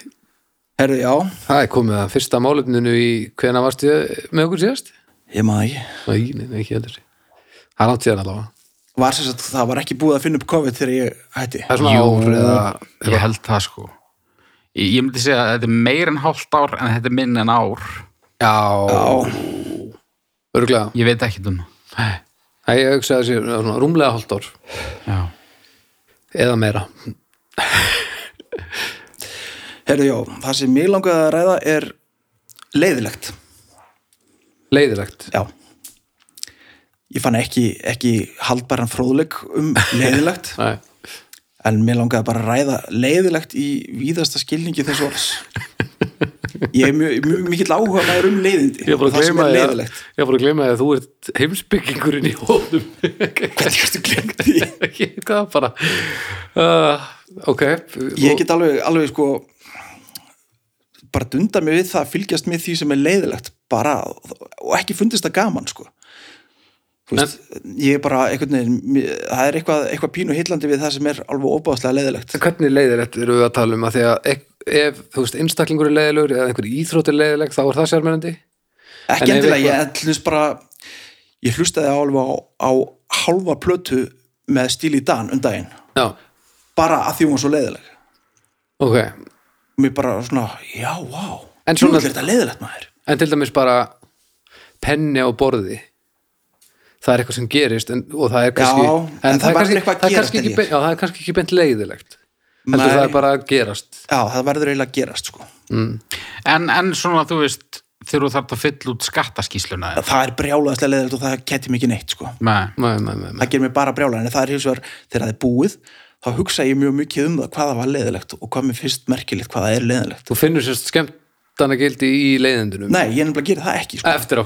[SPEAKER 3] Herru, já,
[SPEAKER 1] það er komið að fyrsta málefninu í hvena varstu með okkur síðast?
[SPEAKER 3] ég maður ekki.
[SPEAKER 1] Nei, nei, nei, ekki heldur Það er langt síðan allavega
[SPEAKER 3] var sem sagt, það var ekki búið að finna upp COVID þegar ég hætti
[SPEAKER 1] það er svona ár eða
[SPEAKER 2] ég held það sko ég, ég myndi segja að þetta er meir en hálft ár en þetta er minn en ár
[SPEAKER 1] já,
[SPEAKER 3] Já,
[SPEAKER 1] örgulega
[SPEAKER 2] ég veit ekki um það
[SPEAKER 1] það ég hugsa þessi svona, rúmlega hálft ár
[SPEAKER 2] já
[SPEAKER 1] eða meira
[SPEAKER 3] herðu, já, það sem mig langaði að ræða er leiðilegt
[SPEAKER 1] leiðilegt
[SPEAKER 3] Já Ég fann ekki, ekki haldbæran fróðleik um leiðilegt
[SPEAKER 1] Nei.
[SPEAKER 3] en mér langaði bara að ræða leiðilegt í víðasta skilningi þessu orðs Ég er mjög, mjög mikill áhuga maður um leiðindi
[SPEAKER 1] ég er bara
[SPEAKER 3] og
[SPEAKER 1] að
[SPEAKER 3] það sem
[SPEAKER 1] gleyma því
[SPEAKER 3] er
[SPEAKER 1] að-
[SPEAKER 3] leiðilegt
[SPEAKER 1] ég er bara að gleyma því að þú ert heimsbyggingurinn í hóðum
[SPEAKER 3] Hvernig ertu glemt því?
[SPEAKER 1] ég veit það bara uh, ok
[SPEAKER 3] Ég get alveg, alveg sko bara dunda mig við það að fylgjast með því sem er leiðilegt bara og ekki fundist það gaman sko Þú veist, ég er bara einhvern veginn mér- það er eitthvað, eitthvað pínu hillandi við það sem er alveg óbáðslega leiðilegt
[SPEAKER 1] hvernig leiðilegt eru við að tala um að því að ef, ef þú veist einstaklingur er leiðilegur eða einhver íþrótt er leiðileg þá er það sérmennandi En
[SPEAKER 3] ekki
[SPEAKER 1] ef
[SPEAKER 3] endilega,
[SPEAKER 1] eitthvað-
[SPEAKER 3] ég hlust bara ég hlustaði alveg á, á hálfa plötu með stíl í Dan um daginn,
[SPEAKER 1] já,
[SPEAKER 3] bara að því hún var svo leiðileg
[SPEAKER 1] ok
[SPEAKER 3] og mér bara svona, já, vá
[SPEAKER 1] En
[SPEAKER 3] Jú,
[SPEAKER 1] svona-
[SPEAKER 3] er þetta leiðilegt maður
[SPEAKER 1] en til dæmis bara penni á borði það er eitthvað sem gerist en, og það er kannski
[SPEAKER 3] Já,
[SPEAKER 1] en,
[SPEAKER 3] en það
[SPEAKER 1] það, er
[SPEAKER 3] verður
[SPEAKER 1] kannski,
[SPEAKER 3] eitthvað að
[SPEAKER 1] það, er
[SPEAKER 3] gerast,
[SPEAKER 1] kannski ekki,
[SPEAKER 3] held ég.
[SPEAKER 1] beint- já, það er kannski ekki beint leiðilegt heldur
[SPEAKER 3] Nei.
[SPEAKER 1] það er bara að gerast
[SPEAKER 3] já, það verður eiginlega að gerast sko
[SPEAKER 2] En, en svona, þú veist, þegar þú þarf að fylla út skattaskísluna þína.
[SPEAKER 3] það er brjálaðislega leiðilegt og það kætti mikið neitt sko
[SPEAKER 2] Nei,
[SPEAKER 1] nei, nei, nei, nei.
[SPEAKER 3] það gerir mér bara brjálæðin en það er hins vegar þegar það er búið þá hugsa ég mjög mikið um það hvað það var leiðilegt og hvað mér finnst merkilegt hvað það er leiðilegt
[SPEAKER 1] þú finnur sérst skemmtana gildi í leiðindunum
[SPEAKER 3] nei, ég nefnilega gerir það ekki sko.
[SPEAKER 1] eftir á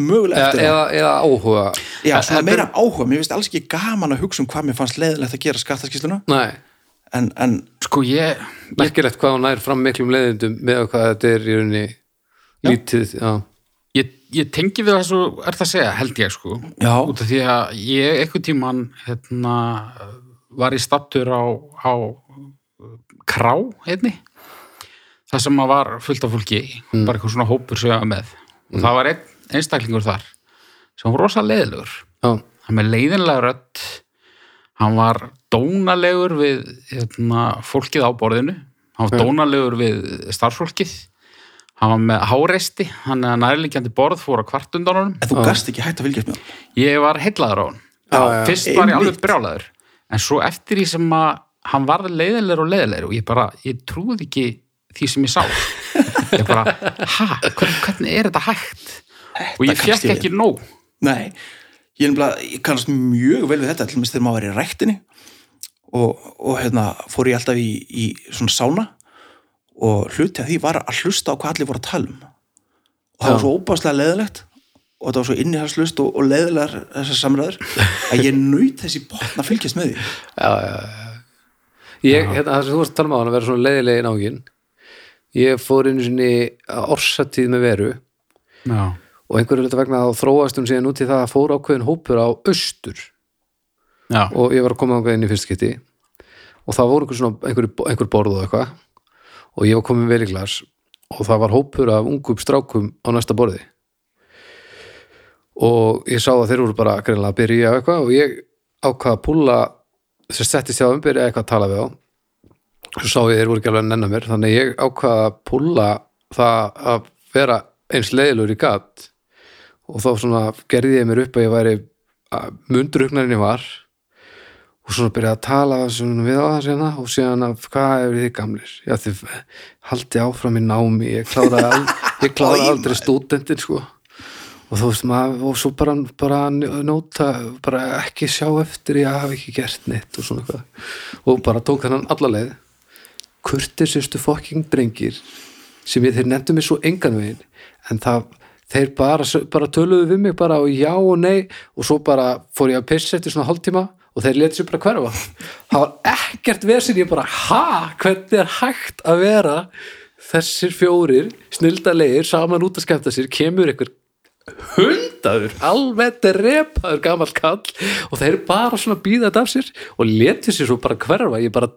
[SPEAKER 3] mögulega
[SPEAKER 1] eða,
[SPEAKER 3] eftir
[SPEAKER 1] eða, eða áhuga
[SPEAKER 3] það já, svona meira áhuga, mér finnst alls ekki gaman að hugsa um hvað mér fannst leiðilegt að gera skattaskísluna
[SPEAKER 1] nei,
[SPEAKER 3] en, en
[SPEAKER 2] sko ég,
[SPEAKER 1] merkilegt hvað hún nær fram miklum leiðindum með hvað þetta er í rauninni lítið já.
[SPEAKER 2] ég, ég tengi við það svo, er það að segja, held ég sko.
[SPEAKER 3] Já.
[SPEAKER 2] Út af því að ég eitthvað tíman hérna, var í stattur á, á krá, einni. Það sem að var fullt af fólki, bara eitthvað svona hópur sem ég var með. Og það var einn einstaklingur þar sem var rosa leiðilegur.
[SPEAKER 1] Já.
[SPEAKER 2] hann með leiðinlega rödd hann var dónalegur við hérna, fólkið á borðinu hann var dónalegur við starfsfólkið hann var með háresti hann er nærlíkjandi borð fór á kvartundanum
[SPEAKER 3] En þú gast ekki hægt að fylgjast með það.
[SPEAKER 2] ég var heillaður á hann
[SPEAKER 1] Já, já.
[SPEAKER 2] fyrst var ég alveg
[SPEAKER 3] Einmitt.
[SPEAKER 2] brjálaður en svo eftir því sem að hann varð leiðilegur og leiðilegur og ég bara, ég trúði ekki því sem ég sá ég bara, hæ, hvernig, hvernig er þetta hægt og ég
[SPEAKER 3] kannast
[SPEAKER 2] fekk
[SPEAKER 3] ég
[SPEAKER 2] ekki nóg
[SPEAKER 3] Nei, ég, nefnilega, ég kannast mjög vel við þetta til þess þegar maður er í ræktinni og, og hérna fór ég alltaf í, í svona sána og hluti að því var að hlusta á hvað allir voru að tala um og það var svo óbáslega leðilegt og það var svo innihalslust og, og leðilegar þessar samræður að ég naut þessi botn að fylgjast með því
[SPEAKER 1] ég, hérna, það sem þú varst að tala með hann að vera svona leiðilegi nágin ég fór einu sinni á orsatíð með veru
[SPEAKER 2] já,
[SPEAKER 1] og einhverju hluta vegna þá þróast hún síðan út í það að fór ákveðin hópur á austur
[SPEAKER 2] já,
[SPEAKER 1] og ég var að koma þangað inn í fyrst kitti og það voru einhver, svona, einhver, einhver borð og eitthvað og ég var komin vel í glas og það var hópur af ungum strákum á næsta borði og ég sá að þeir voru bara greinlega að byrja á eitthvað og ég ákvað að púla sem settist ég á umbyrja eitthvað að tala við á svo sá ég þeir voru ekki alveg að nenna mér þannig ég ákvað að púla það að vera eins leiðilegur í gatt og þá svona gerði ég mér upp að ég væri mundruknarinn ég var og svona byrjaði að tala svona við á það sérna og síðan að hvað eru þið gamlir já þið haldi áfram í námi ég kláraði, al, ég kláraði aldrei stúdentin sko og þú veist maður og svo bara, bara njóta bara ekki sjá eftir ég hafi ekki gert neitt og svona eitthvað og bara tók þennan alla leið kurtisistu fokking drengir sem ég, þeir nefndu mig svo engan veginn en það, þeir bara, bara töluðu við mig bara og já og nei og svo bara fór ég að pissa eftir svona hálftíma og þeir letið sér bara hverfa það var ekkert vesinn, ég bara ha, hvernig er hægt að vera þessir fjórir snildalegir saman út að skemmta sér, kemur einhver hundaður, alveg drepaður gamall kall og þeir bara svona býða þetta af sér og letu sér svo bara hverfa, ég bara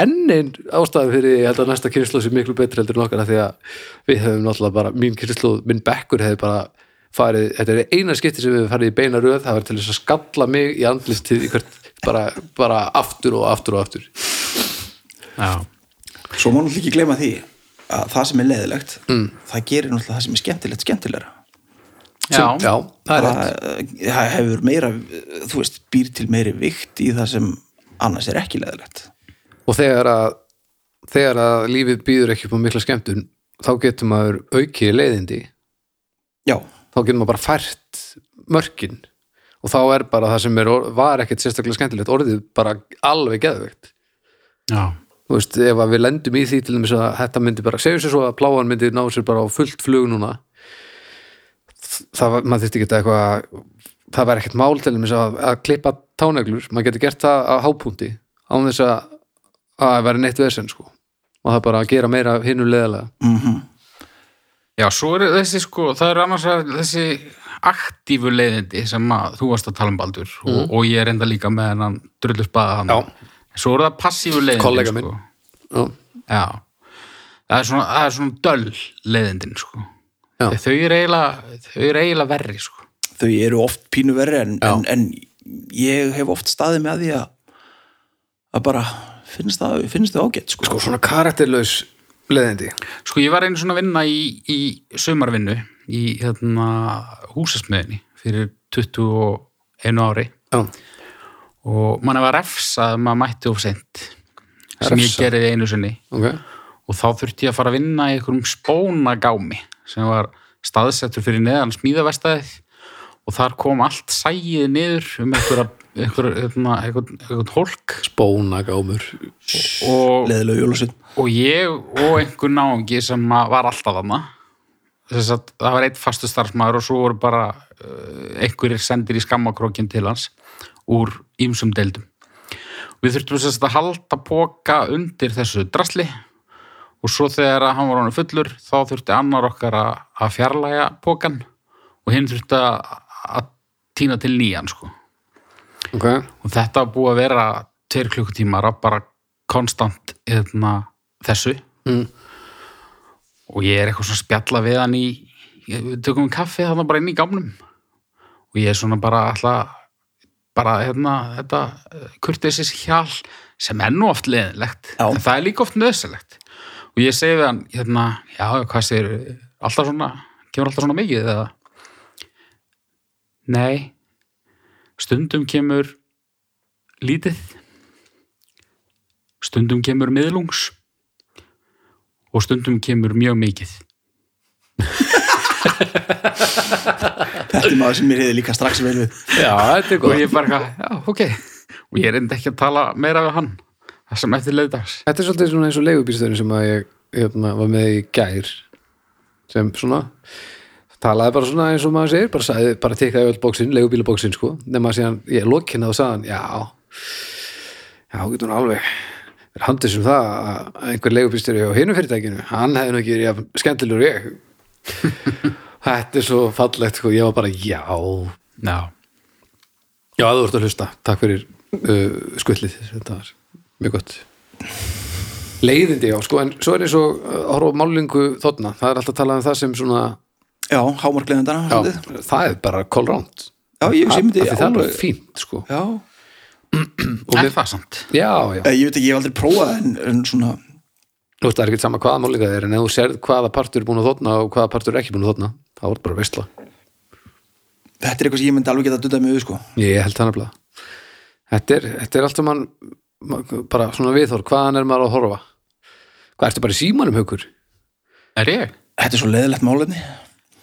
[SPEAKER 1] enn einn ástæðum fyrir því, ég held að næsta kynnslóð sé miklu betri heldur en okkar af því að við hefum náttúrulega bara, mín kynnslóð, minn bekkur hefði bara farið, þetta er eina skipti sem við höfum farið í beina röð, það var til þess að skalla mig í andlistið í hvert, bara, bara aftur og aftur og aftur
[SPEAKER 2] Já.
[SPEAKER 3] Svo má náttúrulega ekki gleyma því að það sem er leiðilegt mm. það gerir náttúrulega það sem er skemmtilegt skemmtilegra
[SPEAKER 2] Já.
[SPEAKER 1] Já, það er
[SPEAKER 3] það,
[SPEAKER 1] rétt
[SPEAKER 3] eh, það hefur meira eh, þú veist, býr til meiri vikt í það sem annars er ekki leiðilegt
[SPEAKER 1] og þegar að, þegar að lífið býður ekki upp á mikla skemmtun þá getur maður aukið leiðindi
[SPEAKER 3] Já,
[SPEAKER 1] þá getur maður bara fært mörkin og þá er bara það sem er, or- var ekkert sérstaklega skemmtilegt orðið bara alveg geðvegt
[SPEAKER 2] Já.
[SPEAKER 1] þú veist, ef að við lendum í því til þess að þetta myndi bara, segjum sér svo að pláan myndi ná sér bara á fullt flug núna það var, maður þyrfti ekki eitthvað það var ekkert mál til þess að, að klippa táneglur, maður getur gert það á hápúnti án þess að að það vera neitt vesend sko og það bara að gera meira hinnu leðalega
[SPEAKER 2] Já, svo er þessi sko, það er annars að þessi aktífu leiðindi sem að þú varst að tala um Baldur
[SPEAKER 1] Mhm.
[SPEAKER 2] og, og ég er enda líka með hennan drullu spaða hann. Já. Svo eru það passífu leiðindi.
[SPEAKER 1] Kollega minn.
[SPEAKER 2] Sko.
[SPEAKER 1] Já.
[SPEAKER 2] Já. Það er svona, það er svona döll leiðindin sko.
[SPEAKER 1] Já.
[SPEAKER 2] Þau eru eiginlega, þau eru eiginlega verri sko.
[SPEAKER 3] þau eru oft pínu verri en, en, en ég hef oft staðið með því að að bara finnst það, finnst það ágætt sko.
[SPEAKER 1] sko svona karakterlaus leðindi
[SPEAKER 2] Sko, ég var einu svona að vinna í, í sumarvinnu í hérna húsasmiðinni fyrir 21 ári
[SPEAKER 1] Já.
[SPEAKER 2] og manna var refsað að maður mætti of seint sem ég
[SPEAKER 1] Refsað?
[SPEAKER 2] gerði einu sinni
[SPEAKER 1] ok,
[SPEAKER 2] og þá þurfti ég að fara að vinna í einhverjum spónagámi sem var staðsettur fyrir neðan smíðavestæðið og þar kom allt sægið niður um einhverja einhver, einhver, einhver, einhver hólk
[SPEAKER 1] spóna gámur Sko.
[SPEAKER 2] og
[SPEAKER 3] leiðilega jólusinn
[SPEAKER 2] og ég og einhver náungi sem að var alltaf þarna þess að það var einn fastu starfsmæður og svo voru bara uh, einhverjir sendir í skammakrókin til hans úr ýmsum deildum við þurftum þess að halda póka undir þessu drasli og svo þegar að hann var honum fullur þá þurfti annar okkar að, að fjarlæga pókan og hinn þurfti að, að týna til nýjan sko
[SPEAKER 1] ok,
[SPEAKER 2] og þetta var búið að vera tveir klukkutímar að bara konstant hérna, þessu
[SPEAKER 1] Mm.
[SPEAKER 2] og ég er eitthvað svona að spjalla við hann í ég- við tökum kaffi þarna bara inn í gamnum og ég er svona bara alltaf bara hérna þetta eh, kurteisis hjal sem er nú oft leðilegt
[SPEAKER 3] Já.
[SPEAKER 2] en það er líka oft nöðsilegt og ég segi við hann hérna, já hvað segir alltaf svona, kemur alltaf svona mikið eða nei stundum kemur lítið stundum kemur miðlungs og stundum kemur mjög mikið
[SPEAKER 3] þetta er maður sem mér hefði líka strax vel við
[SPEAKER 1] já, þetta er
[SPEAKER 2] og
[SPEAKER 1] góð
[SPEAKER 2] ég bara, eitthvað, já, ok og ég reyndi ekki að tala meira við hann það sem eftir leiðdags
[SPEAKER 1] Þetta er svolítið svona eins og leigubýrstöðin sem að ég hérna, var með í gær sem svona talaði bara svona eins og maður segir bara, sagði, bara tekkaði öll bóksinn, leigubílabóksinn sko nema að síðan ég lokina og sagði hann já, já, getur hún alveg verið handið sem það að einhver leigubýrstöði á hinu fyrirtækinu hann hefði nú ekki verið jafn skemmtilegur og ég Þetta er svo fallegt sko, ég var bara já
[SPEAKER 2] já,
[SPEAKER 1] Já, þú ert að hlusta, takk fyrir uh, skullið, þetta var mjög gott leiðindi já, sko, en svo er eins og uh, að horfa á málingu þóttna, það er alltaf að tala um það sem svona,
[SPEAKER 3] já, hámarkleðendana
[SPEAKER 1] já,
[SPEAKER 3] svolítið.
[SPEAKER 1] það er bara kolránt,
[SPEAKER 3] já, ég, ég myndi
[SPEAKER 1] af því það er bara
[SPEAKER 3] alveg-
[SPEAKER 1] fínt sko,
[SPEAKER 3] já,
[SPEAKER 1] og
[SPEAKER 2] er
[SPEAKER 1] við,
[SPEAKER 2] það samt
[SPEAKER 1] já, já
[SPEAKER 3] Eh, ég veit ekki, ég hef aldrei prófað en, en svona,
[SPEAKER 1] þú veist, það er ekkert sama hvaða málinga það er, en ef þú sérð hvaða partur er búin að þóttna og hvaða partur er ekki búin að þóttna þá er bara veistla,
[SPEAKER 3] þetta er eitthvað sem ég myndi alveg geta að dutta mig við sko.
[SPEAKER 1] ég held það nefnilega þetta er, þetta er alltaf mann ma- bara svona viðhor, hvaðan er maður að horfa hvað ertu bara í símanum haukur?
[SPEAKER 2] er ég?
[SPEAKER 3] þetta er svo leiðilegt málefni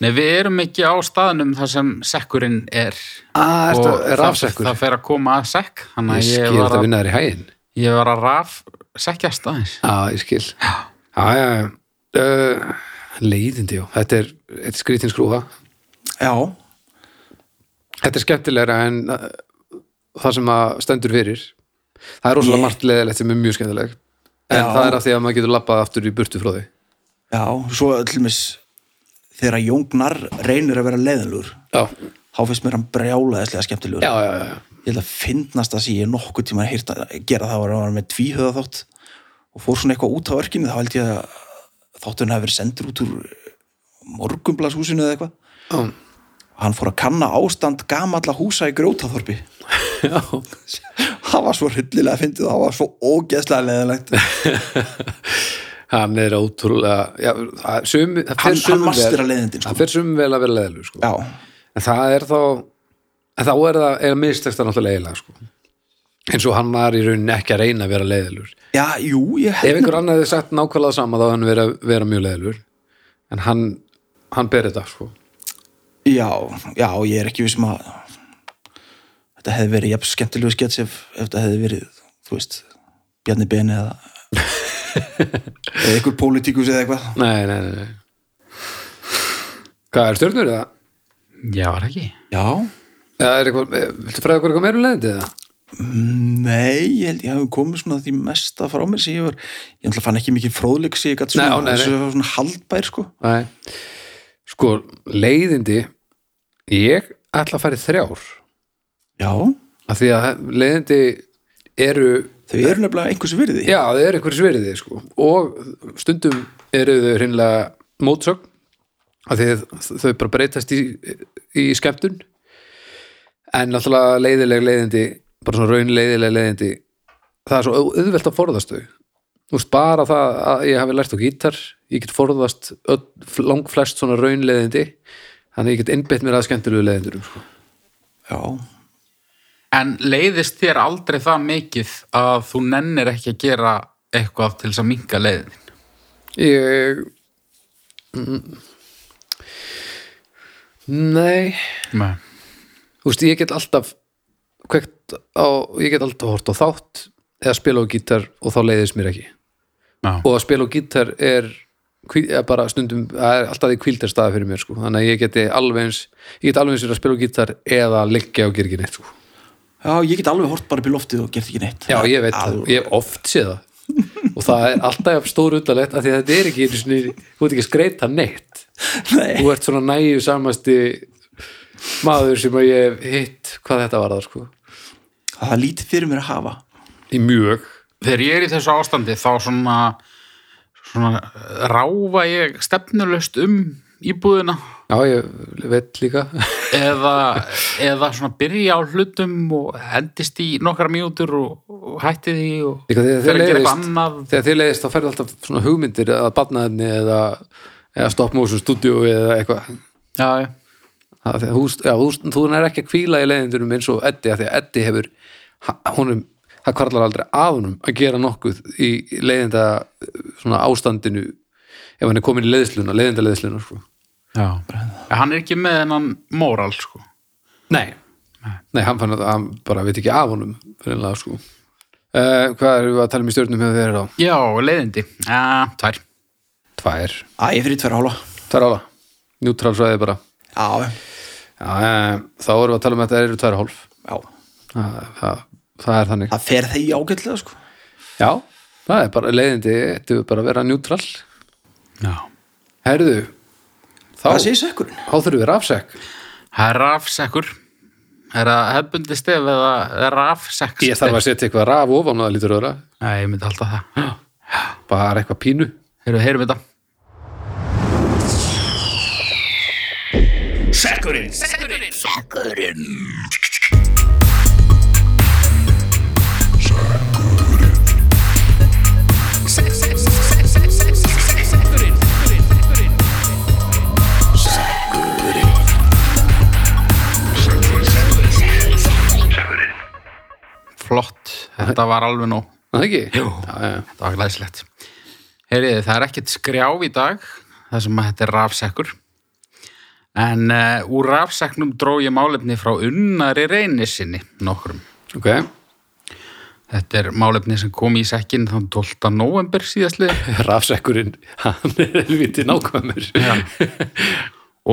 [SPEAKER 2] Nei, við erum ekki á staðnum þar sem sekkurinn er
[SPEAKER 1] Ah, ertu,
[SPEAKER 2] og
[SPEAKER 1] er
[SPEAKER 2] það,
[SPEAKER 1] rafsekkur?
[SPEAKER 2] það fer að koma að sekk þannig að
[SPEAKER 1] Ég skil
[SPEAKER 2] ég var
[SPEAKER 1] þetta
[SPEAKER 2] að,
[SPEAKER 1] vinnaður í hæginn
[SPEAKER 2] ég var að raf sekkjast aðeins
[SPEAKER 1] Já, ég skil Já, já, já uh, Leiðindi, já, þetta er, þetta er skrítin skrúfa
[SPEAKER 3] já,
[SPEAKER 1] Þetta er skemmtilegra en uh, það sem að stendur fyrir Það er rosalega
[SPEAKER 3] Ég-
[SPEAKER 1] margt leðilegt sem er mjög skemmtileg En
[SPEAKER 3] Já.
[SPEAKER 1] það er af því að maður getur labbað aftur í burtu frá því
[SPEAKER 3] já, svo öllumins þegar Jóngnar reynir að vera leiðinlur
[SPEAKER 1] Já,
[SPEAKER 3] þá finnst mér hann brjálaðislega skemmtilegur
[SPEAKER 1] já, já, já, já.
[SPEAKER 3] ég held að finnast það sem ég nokkuð tíma hýrt að gera það var að hann var með tvíhöða þátt og fór svona eitthvað út á örkinni þá held ég að þátturinn hafi verið sendur út úr morgumblaðshúsinu eða eitthvað
[SPEAKER 1] Já.
[SPEAKER 3] hann fór að kanna ástand gamalla húsa í grjótaþorpi
[SPEAKER 1] Já,
[SPEAKER 3] það var svo hryllilega fyndið og það var svo ógeðslega leðilegt
[SPEAKER 1] hann er ótrúlega já, það, sum, það fer
[SPEAKER 3] Hann-
[SPEAKER 1] sumum
[SPEAKER 3] hann masterar
[SPEAKER 1] vel-
[SPEAKER 3] leiðindin, sko.
[SPEAKER 1] það fer sum vel að vera leðilur sko.
[SPEAKER 3] já,
[SPEAKER 1] en það er þá en þá er það er mistekst að náttúrulega eiginlega sko. eins og hann var í rauninni ekki að reyna að vera leðilur
[SPEAKER 3] já, jú, ég
[SPEAKER 1] ef
[SPEAKER 3] held
[SPEAKER 1] einhver annar hefði sagt nákvæmlega sama þá hefði hann vera, vera mjög leðilur en hann, hann ber þetta sko.
[SPEAKER 3] já, já, ég er ekki vissum að þetta hefði verið jafn skemmtilegu skets ef, ef þetta hefði verið, þú veist Bjarni Beni eða eða einhver pólitíkus eða eitthvað
[SPEAKER 1] nei, nei, nei, nei hvað er stjörnur eða?
[SPEAKER 6] Já, var það ekki.
[SPEAKER 3] já,
[SPEAKER 1] eða er eitthvað, eh, viltu fræða okkur eitthvað meira um leðindi eða?
[SPEAKER 3] nei, ég held ég hefði komið svona því mesta frá mér sem ég var ég ætla fann ekki mikið fróðleik sem ég gætt svona,
[SPEAKER 1] Nei, ó, nei, nei.
[SPEAKER 3] svona, svona haldbær sko
[SPEAKER 1] Nei. Sko, leiðindi ég ætla að fara í þrjár
[SPEAKER 3] já,
[SPEAKER 1] af því að leiðindi eru
[SPEAKER 3] þau eru nefnilega einhversu virði
[SPEAKER 1] já, þau eru einhverjum sveriði sko. og stundum eru þau hreinlega mótsögn af því að þau bara breytast í, í skemmtun en náttúrulega leiðileg leiðindi bara svona raun leiðileg leiðindi það er svo au- auðvelt að forðast þau Þú veist, bara það að ég hafi lært á gítar ég get forðast öll, langflest svona raun leiðindi þannig að ég get innbytt mér að skemmtilegu leiðindurum sko.
[SPEAKER 3] já.
[SPEAKER 2] En leiðist þér aldrei það mikið að þú nennir ekki að gera eitthvað til þess að minka leiðin?
[SPEAKER 1] Ég Mm. Nei
[SPEAKER 2] Nei.
[SPEAKER 1] Þú veist, ég get alltaf kveikt á, ég get alltaf hort á þátt eða spila á gítar og þá leiðist mér ekki
[SPEAKER 2] Já.
[SPEAKER 1] og að spila á gítar er, hví- er bara stundum, það er alltaf í kvíldar staða fyrir mér sko, þannig að ég geti alveg eins ég get alveg eins verið að spila á gítar eða liggja og gera ekki neitt sko.
[SPEAKER 3] Já, ég get alveg hort bara upp í loftið og gert ekki neitt
[SPEAKER 1] Já, ég veit það,
[SPEAKER 3] Alveg.
[SPEAKER 1] ég hef oft séð það og það er alltaf stór undarlegt af því að þetta er ekki, einu sinni, þú ert ekki að skreita neitt
[SPEAKER 3] Nei,
[SPEAKER 1] þú ert svona næju samasti maður sem að ég hef hitt hvað þetta var það sko
[SPEAKER 3] það er lítið fyrir mér að hafa
[SPEAKER 1] í mjög
[SPEAKER 2] Þegar ég er í þessu ástandi þá svona, svona ráfa ég stefnulöst um íbúðina
[SPEAKER 1] já ég veit líka
[SPEAKER 2] eða, eða svona byrja á hlutum og hendist í nokkra mínútur og, og hætti því og
[SPEAKER 1] líka þegar
[SPEAKER 2] fer
[SPEAKER 1] þið
[SPEAKER 2] að gera eitthvað
[SPEAKER 1] leiðist
[SPEAKER 2] annað
[SPEAKER 1] þegar þið leiðist þá ferði alltaf svona hugmyndir eða badnaðinni eða, eða stop motion studio eða eitthvað
[SPEAKER 2] Já, já.
[SPEAKER 1] Það- þegar þú, já, þú, þú er ekki að hvíla í leiðindunum eins og Eddi af því að Eddi hefur ha- honum, það kvarlar aldrei að honum að gera nokkuð í leiðinda svona ástandinu ef hann er komin í leiðsluna, leiðinda leiðsluna sko.
[SPEAKER 2] já. En Hann er ekki með hennan móral sko.
[SPEAKER 1] Nei Nei, hann fann að hann bara veit ekki af honum fyrirlega sko uh, Hvað erum við að tala um í stjórnum hefur verið á?
[SPEAKER 2] Já, leiðindi. Já, tvær.
[SPEAKER 1] Tvær,
[SPEAKER 3] Æ, ég fyrir tverra hálfa
[SPEAKER 1] tvær ála Njútrálsvæði bara
[SPEAKER 3] Já,
[SPEAKER 1] Já, uh, Þá erum við að tala um að þetta eru tvær og hálf
[SPEAKER 3] já,
[SPEAKER 1] það, það, það er þannig
[SPEAKER 3] það fer þegi ágætlega sko
[SPEAKER 1] Já, það er bara leiðindi Þetta er bara að vera njútrál
[SPEAKER 2] Já.
[SPEAKER 1] Herðu, þá,
[SPEAKER 3] Hvað
[SPEAKER 1] þá
[SPEAKER 3] segir sekkurinn?
[SPEAKER 1] þurfum við rafsekk
[SPEAKER 2] Það er rafsekkur. Er það hefbundi stef eða er rafsekk?
[SPEAKER 1] Ég þarf að setja eitthvað raf ofan og það lítur öðra
[SPEAKER 2] Nei, ég myndi alltaf það.
[SPEAKER 1] Bara eitthvað pínu
[SPEAKER 2] Heyrðu, heyrum þetta. Flott. Þetta var alveg nóg.
[SPEAKER 1] Er Það ekki?
[SPEAKER 2] Jú.
[SPEAKER 1] Já, já.
[SPEAKER 2] Þetta var glæsilegt. Heyriði, það er ekkert skrjáf í dag, þar sem að þetta er rafsekkur. En uh, úr rafseknum dró ég málefni frá unnari reynisinni nokkrum.
[SPEAKER 1] Ok,
[SPEAKER 2] Þetta er málefni sem kom í sekkin þann 12. november síðastlið
[SPEAKER 1] rafsekkurinn hann er helviti nákvæmur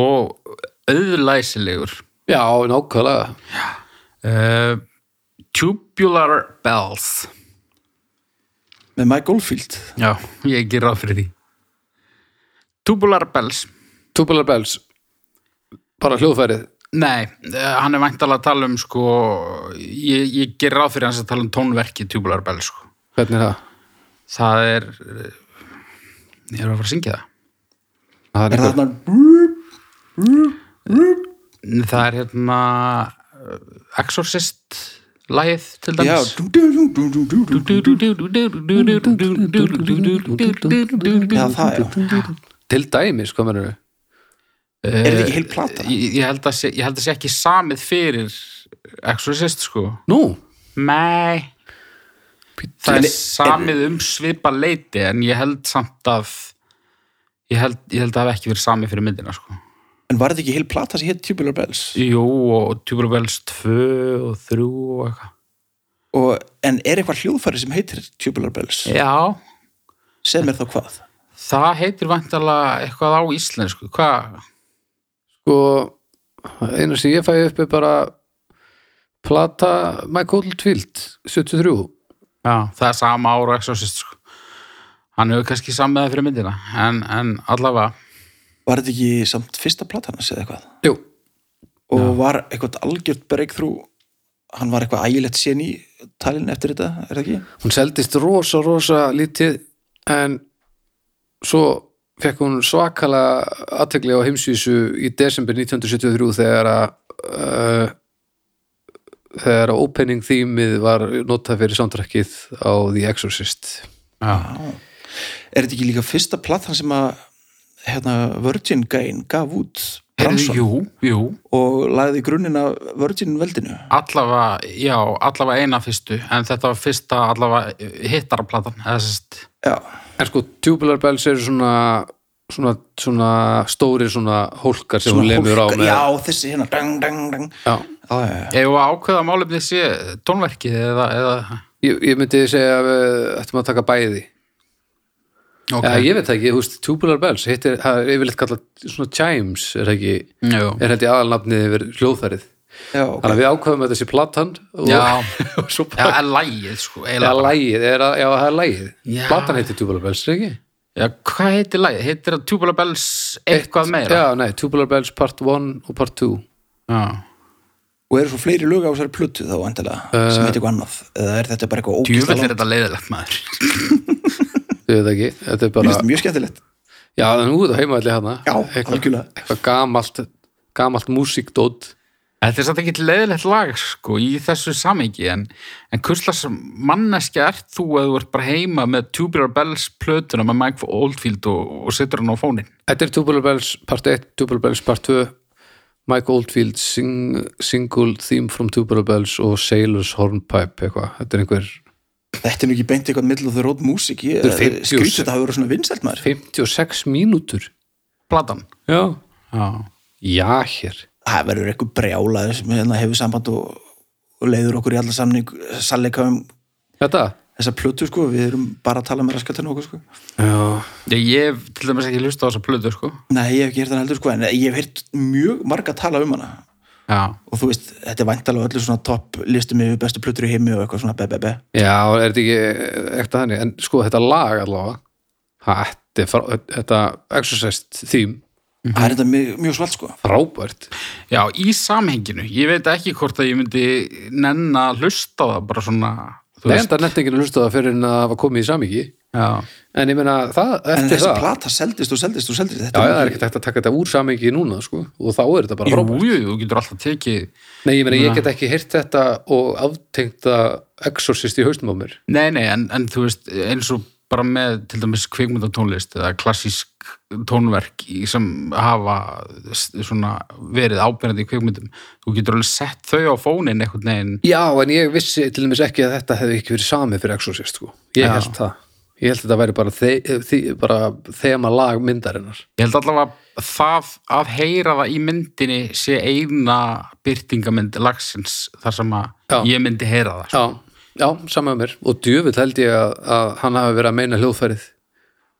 [SPEAKER 2] og auðlæsilegur.
[SPEAKER 1] Já, nákvæmlega
[SPEAKER 2] Uh, tubular bells.
[SPEAKER 3] Með Mike Goldfield
[SPEAKER 2] Já, ég ekki ráð fyrir því. Tubular bells.
[SPEAKER 1] Tubular Bells bara hljóðfærið
[SPEAKER 2] Nei, eh, hann er væntalega að tala um sko, ég, ég ger ráð fyrir hans að tala um tónverki Tubular Bell sko.
[SPEAKER 1] hvernig er það?
[SPEAKER 2] Það er eh, ég er að fara að syngja það
[SPEAKER 1] það
[SPEAKER 3] Er
[SPEAKER 1] er
[SPEAKER 3] það
[SPEAKER 1] einhver,
[SPEAKER 3] þarna
[SPEAKER 2] það er hérna uh, Exorcist lagið til
[SPEAKER 3] Já,
[SPEAKER 2] dæmis
[SPEAKER 3] dú, dú, dú, dú, dú, dú, dú. Já, það, já.
[SPEAKER 1] til dæmis, hvað mennur
[SPEAKER 3] Er þetta ekki heil plata?
[SPEAKER 2] Eh, ég, ég, held að sé, ég held að sé ekki samið fyrir Exorcist sko
[SPEAKER 1] nú,
[SPEAKER 2] Nei
[SPEAKER 3] En
[SPEAKER 2] Það
[SPEAKER 3] er-
[SPEAKER 2] er samið um svipa leiti en ég held samt að ég held, ég held að það hef ekki verið samið fyrir myndina sko.
[SPEAKER 3] En var þetta ekki heil plata sem hétt Tubular Bells?
[SPEAKER 2] Jú og Tubular Bells 2 og 3 og eitthvað
[SPEAKER 3] Og, en er eitthvað hljóðfæri sem heitir Tubular Bells?
[SPEAKER 2] Já,
[SPEAKER 3] Sem er þá hvað?
[SPEAKER 2] það heitir vantarlega eitthvað á íslensku Hvað?
[SPEAKER 1] sko eina sem ég fæ upp er bara plata Michael Tvilt 73
[SPEAKER 2] Já, það er sama ára exorcist sko. Hann hefur kannski samið það fyrir myndina en, en allavega
[SPEAKER 3] Var þetta ekki samt fyrsta platan hans eða eitthvað?
[SPEAKER 1] jú,
[SPEAKER 3] Og var eitthvað algjört breakthrough hann var eitthvað ægilegt sen í talin eftir þetta, er það ekki?
[SPEAKER 1] hún seldist rosa, rosa lítið en svo fekk hún svakala aðtegli á heimsvísu í desember 1973 þegar að uh, þegar að opening themið var notað fyrir soundtrackið á The Exorcist
[SPEAKER 2] Já,
[SPEAKER 3] Er þetta ekki líka fyrsta platan sem að hérna, Virgin gæinn gaf út
[SPEAKER 2] Heyrðu,
[SPEAKER 3] Branson
[SPEAKER 2] jú, jú
[SPEAKER 3] og lagði grunninn af Virgin veldinu?
[SPEAKER 2] allavega, já, allavega eina fyrstu en þetta var fyrsta allavega hittaraplatan eða sérst
[SPEAKER 3] Já,
[SPEAKER 1] En sko, tubular bells eru svona svona, svona stóri svona hólkar sem hún lemur á með
[SPEAKER 3] Já, þessi hérna dang, dang, dang.
[SPEAKER 1] Já.
[SPEAKER 3] Já, já, já.
[SPEAKER 2] Ef að ákveða málefnið sé tónverkið eða, eða
[SPEAKER 1] Ég, ég myndi segja að við ættum að taka bæði
[SPEAKER 2] ok,
[SPEAKER 1] Já, ég veit það ekki, þú veist, tubular bells hittir, það er yfirleitt kallað svona chimes er það ekki,
[SPEAKER 2] Jú.
[SPEAKER 1] er held ég aðalnafnið yfir hljóðfærið,
[SPEAKER 3] já ok.
[SPEAKER 1] þannig að við ákveðum að þessi platan og,
[SPEAKER 2] Já.
[SPEAKER 1] og svo
[SPEAKER 2] Já,
[SPEAKER 1] bara
[SPEAKER 2] er lægið sko
[SPEAKER 1] Já,
[SPEAKER 2] eiginlega bara.
[SPEAKER 1] lægið, er að, já, það er lægið
[SPEAKER 2] Já.
[SPEAKER 1] Platan heitir Tubular Bells, er það ekki?
[SPEAKER 2] Já, hvað heitir lægið? Heitir það Tubular Bells eitthvað meira?
[SPEAKER 1] Já, nei, Tubular Bells part 1 og part 2
[SPEAKER 2] Já.
[SPEAKER 3] Og eru svo fleiri lög á þessari plötu þá endilega
[SPEAKER 1] Eh,
[SPEAKER 3] sem heitir eitthvað annað? Eða er þetta bara eitthvað
[SPEAKER 2] Djúvel
[SPEAKER 3] ógæsta
[SPEAKER 2] er
[SPEAKER 3] langt?
[SPEAKER 2] þetta leiðilegt maður
[SPEAKER 1] Þau veit það ekki, þetta er
[SPEAKER 3] Mér
[SPEAKER 1] bara
[SPEAKER 3] finnst þetta mjög skemmtilegt.
[SPEAKER 1] Já, það er nú út á heimaðli hana
[SPEAKER 3] Já,
[SPEAKER 1] eitthvað,
[SPEAKER 3] algjörlega.
[SPEAKER 1] eitthvað gamalt gamalt músíkdót
[SPEAKER 2] Þetta er satt ekki leiðilegt lag sko í þessu samingi en, en kurslas manneskja ert þú að þú ert bara heima með Tubular Bells plötuna með Mike Oldfield og, og setur hann á fónin
[SPEAKER 1] Þetta er Tubular Bells part 1, Tubular Bells part 2 Mike Oldfield sing, single theme from Tubular Bells og Sailor's Hornpipe eitthvað, þetta er einhver
[SPEAKER 3] Þetta er nú ekki beint eitthvað middle of the road músík. Ég
[SPEAKER 1] Þetta er 50
[SPEAKER 3] skrýt þetta hafa verið svona vinsælt maður.
[SPEAKER 1] 56 mínútur
[SPEAKER 2] Platan
[SPEAKER 1] Já,
[SPEAKER 2] Já.
[SPEAKER 1] já hér
[SPEAKER 3] Það verður eitthvað brjálaður sem hérna hefur samband og, og leiður okkur í alla samning sannleika um
[SPEAKER 1] Þetta?
[SPEAKER 3] þessa plötu sko. Við erum bara að tala með raskatunum okkur sko.
[SPEAKER 1] Já,
[SPEAKER 2] Ég, ég hef til dæmis ekki hlusta á þessa plötu sko
[SPEAKER 3] Nei, ég hef ekki hirt hann heldur sko en ég hef hirt mjög marga tala um hana
[SPEAKER 2] Já.
[SPEAKER 3] og þú veist, þetta er væntalega öllu svona topp listum yfir bestu plötur í heimi og eitthvað svona be, be, be.
[SPEAKER 1] já er þetta ekki ekta þannig, en sko þetta lag allavega þetta, er frá- þetta exorcist theme,
[SPEAKER 3] Það er þetta mjög, mjög svalt sko
[SPEAKER 1] frábært
[SPEAKER 2] Já, í samhenginu. Ég veit ekki hvort að ég myndi nenn að hlusta á það bara svona, þú
[SPEAKER 1] Nei,
[SPEAKER 2] veist.
[SPEAKER 1] enda nettinginu hlusta það fyrir en að hafa komið í samíki
[SPEAKER 2] Já,
[SPEAKER 1] en ég meina það,
[SPEAKER 3] En
[SPEAKER 1] eftir
[SPEAKER 3] þessi
[SPEAKER 1] það já,
[SPEAKER 3] plata seldist og seldist og seldist þetta
[SPEAKER 1] það er ekkert hægt að taka þetta úr samíki núna sko, og þá er þetta bara
[SPEAKER 2] jú,
[SPEAKER 1] frábært
[SPEAKER 2] jú, þú getur alltaf tekið.
[SPEAKER 1] Nei, ég meina, ég get ekki heyrt þetta og aftengt að exorcist í haustum á mér
[SPEAKER 2] Nei, nei, en, en þú veist, eins og bara með til dæmis kvikmyndatónlist eða klassísk tónverk í- sem hafa s- svona verið ábyrjandi í kvikmyndum. Þú getur alveg sett þau á fónin einhvern veginn.
[SPEAKER 1] Já, en ég vissi til dæmis ekki að þetta hefði ekki verið samið fyrir exorcist sko. ég
[SPEAKER 2] Já.
[SPEAKER 1] held það ég held að þetta væri bara, þe þi bara þema lag myndarinnar
[SPEAKER 2] Ég held allavega að það að heyra það í myndinni sé eina byrtingamynd lagsins þar sem að
[SPEAKER 1] Já.
[SPEAKER 2] ég myndi heyra það. sko.
[SPEAKER 1] Já, já samið á mér og djöfull held ég að, að hann hafi verið að meina hljóðfærið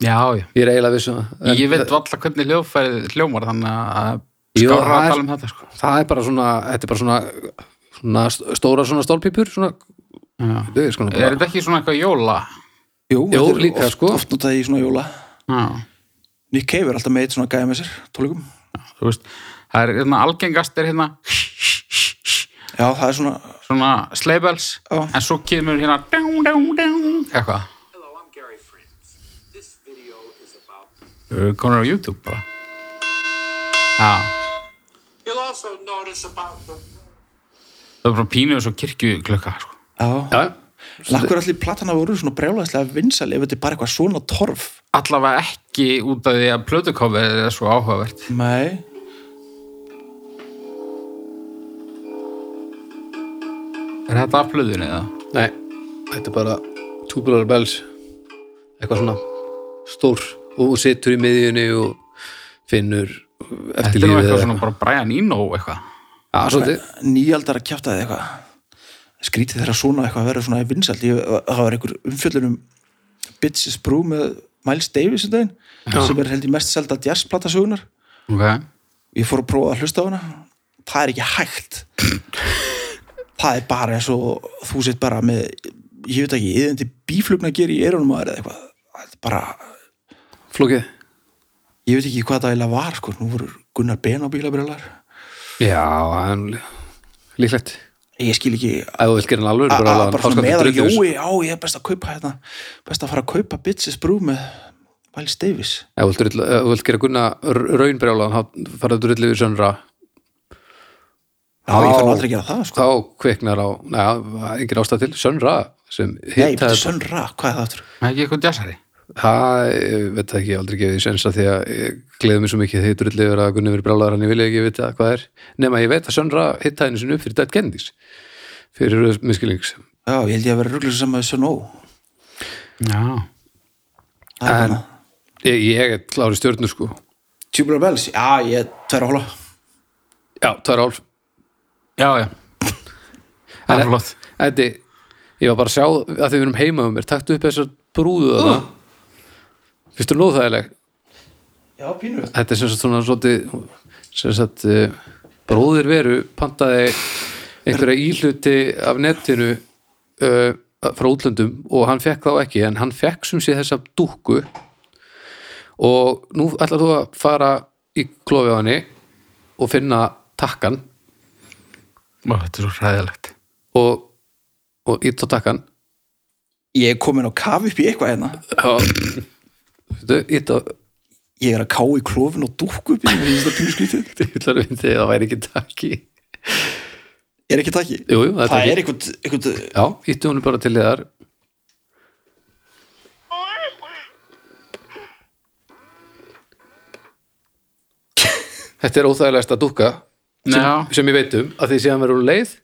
[SPEAKER 2] Já, já.
[SPEAKER 1] ég er eiginlega vissum það En
[SPEAKER 2] ég veit alltaf hvernig hljóðfærið hljómar þannig að
[SPEAKER 1] Jú,
[SPEAKER 2] skára
[SPEAKER 1] það
[SPEAKER 2] að
[SPEAKER 1] er-
[SPEAKER 2] tala um þetta sko.
[SPEAKER 1] það er bara svona, þetta er bara svona, svona st- stóra svona stólpípur svona, þau er sko
[SPEAKER 2] er
[SPEAKER 1] bara
[SPEAKER 2] þetta ekki svona eitthvað jóla?
[SPEAKER 3] Jú,
[SPEAKER 1] Jú,
[SPEAKER 3] þetta er
[SPEAKER 1] líka,
[SPEAKER 3] oft,
[SPEAKER 1] sko.
[SPEAKER 3] oft notaði í svona jóla
[SPEAKER 2] Já,
[SPEAKER 3] Nick Cave er alltaf með eitt svona gæja með sér tólikum
[SPEAKER 2] þú veist það er hérna algengast er hérna
[SPEAKER 3] Já, það er svona
[SPEAKER 2] svona sleibels
[SPEAKER 3] Já.
[SPEAKER 2] en svo kemur hérna dán, dán, dán, eitthvað
[SPEAKER 8] Hello, I'm Gary Friends. This video is about.
[SPEAKER 2] Þau eru konar á YouTube bara Já,
[SPEAKER 8] You'll also notice about the
[SPEAKER 2] Það er bara pínu eins og kirkju klukka, sko.
[SPEAKER 3] já,
[SPEAKER 1] Já,
[SPEAKER 3] lakkur allir platana voru svona brjálæðislega vinsal ef þetta er bara eitthvað svona torf
[SPEAKER 2] Allavega ekki út af því að plötukofið er svo áhugavert.
[SPEAKER 3] nei,
[SPEAKER 2] Er þetta af plöðunni eða?
[SPEAKER 1] nei, þetta er bara tubular bells eitthvað svona stór og situr í miðjunni og finnur
[SPEAKER 2] Þetta er nú
[SPEAKER 1] eftirlífið
[SPEAKER 2] eitthvað
[SPEAKER 1] eða
[SPEAKER 2] svona bara Brian Eno eitthvað.
[SPEAKER 1] Já, svolítið,
[SPEAKER 3] nýaldar að kjafta þið eitthvað skrítið þeirra svona eitthvað að vera svona vinsalt ég, það var einhver umfjöllunum Bitches Brew með Miles Davis um daginn, sem er held í mest selda jazzplata sögunar
[SPEAKER 2] Ok.
[SPEAKER 3] ég fór að prófa að hlusta á hana það er ekki hægt það er bara eins og þú sett bara með ég veit ekki, yðandi bíflugna gerir í eyrunum að eða eitthvað það er bara,
[SPEAKER 1] flókið
[SPEAKER 3] ég veit ekki hvað það eiginlega var sko, nú voru Gunnar Ben á bílabrjólar
[SPEAKER 1] Já, en líklegt
[SPEAKER 3] ég skil ekki
[SPEAKER 1] Ef þú vilt gera hann alveg
[SPEAKER 3] að-
[SPEAKER 1] bara,
[SPEAKER 3] að- bara svona með að
[SPEAKER 1] Ef
[SPEAKER 3] Jói, á ég er best að kaupa hérna, best að fara að kaupa Bitches Brew með Miles Davis
[SPEAKER 1] þú vilt drulla- ef þú vilt gera gunna raunbrjála þá farið drull yfir sönra
[SPEAKER 3] já, ég fann
[SPEAKER 1] Á.
[SPEAKER 3] aldrei að gera það sko
[SPEAKER 1] þá kviknar á, neða, engin ástæð til Sönra sem
[SPEAKER 3] nei,
[SPEAKER 1] hitta
[SPEAKER 3] betur Sönra, hvað er það aftur
[SPEAKER 2] Það er ekki eitthvað jazzari.
[SPEAKER 1] það, ég veit það ekki, ég hef aldrei gefið því sensa því að ég gleði mig svo mikið því drull yfir að Gunni verið brálaðar en ég vilja ekki vita hvað er nema ég veit að Sönra hitta henni sinni upp fyrir Dead Kennedys fyrir röð miskilings
[SPEAKER 3] já, ég held ég að vera rugglega saman með Sönó
[SPEAKER 2] Já.
[SPEAKER 3] það er hérna
[SPEAKER 1] ég, ég er klári stjörnur sko
[SPEAKER 3] Tubular Bells, já, ég er tverra hóla
[SPEAKER 1] já, það er álf
[SPEAKER 2] Já, já. Það
[SPEAKER 1] En-
[SPEAKER 2] er flott.
[SPEAKER 1] Eddi, ég var bara að sjá að því við erum heima um mér, taktu upp þessar brúðu þarna uh. fyrstu nóðþægileg
[SPEAKER 3] já, pínu
[SPEAKER 1] þetta er sem sagt svona svolítið sem sagt eh, bróðir veru pantaði einhverja íhluti af netinu uh, frá útlöndum og hann fekk þá ekki en hann fekk sem sé þessa dúkku og nú ætlar þú að fara í klofið á henni og finna takkan
[SPEAKER 2] Ó, þetta er svo hræðilegt.
[SPEAKER 1] og, og ít á takkan
[SPEAKER 3] ég er komin á kaf upp í eitthvað hérna
[SPEAKER 1] ít á
[SPEAKER 3] ég er að ká í klófin og dúkku upp í mér finnst það pínu skrítið
[SPEAKER 1] yllar við þegar það væri ekki takki
[SPEAKER 3] er ekki takki
[SPEAKER 1] jú, jú, það er
[SPEAKER 3] það
[SPEAKER 1] takki
[SPEAKER 3] er eitthvað, eitthvað
[SPEAKER 1] já, íttu honum bara til þér Þetta er óþægilegasta dúkka sem,
[SPEAKER 2] Já.
[SPEAKER 1] sem ég veit um að því síðan verður hún leið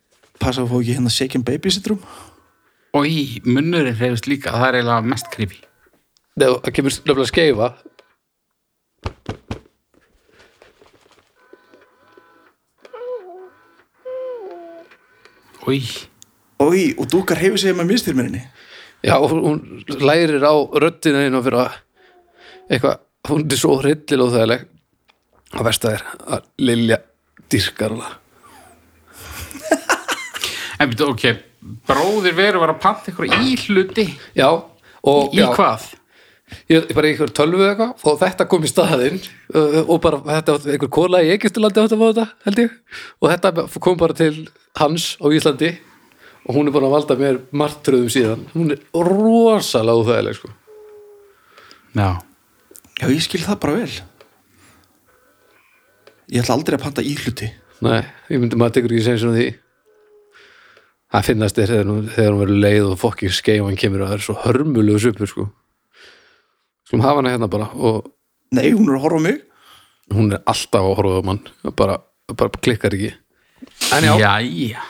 [SPEAKER 3] passa að fá ekki hérna shaken baby syndrom
[SPEAKER 2] Og í munnurinn reyfist líka. Það er eiginlega mest creepy.
[SPEAKER 1] þegar það kemur nefnilega skeifa
[SPEAKER 2] Í.
[SPEAKER 3] Oi, og dúkkar hefur segið með mistyrminni
[SPEAKER 1] já, og hún lærir á röddina inn og fyrir að eitthvað, hún er svo hryllilega óþægileg að versta þér að Lilja dyrkar hana
[SPEAKER 2] En betur, ok. Bróðir veru var að panta eitthvað íhluti.
[SPEAKER 1] já, og
[SPEAKER 2] Í
[SPEAKER 1] já,
[SPEAKER 2] hvað?
[SPEAKER 1] ég bara í einhver tölvu eða eitthvað og þetta kom í staðinn uh, og bara þetta var einhver kóla í Egistulandi átt að fá þetta held ég og þetta kom bara til hans á Íslandi og hún er búin að valda mér martröðum síðan hún er rosalega úþægileg sko.
[SPEAKER 2] Já.
[SPEAKER 3] já, ég skil það bara vel ég ætla aldrei að panta íhluti
[SPEAKER 1] nei, ég myndi maður tekur ekki sem svona því það finnast þér þegar, hún- þegar hún verður leið og fokkir skeifan kemur og það er svo hörmulegu svipur sko. skulum hafa hana hérna bara og
[SPEAKER 3] nei, hún er að horfa á mig
[SPEAKER 1] hún er alltaf á horfaðum hann bara, bara klikkar ekki en já,
[SPEAKER 2] Jæja.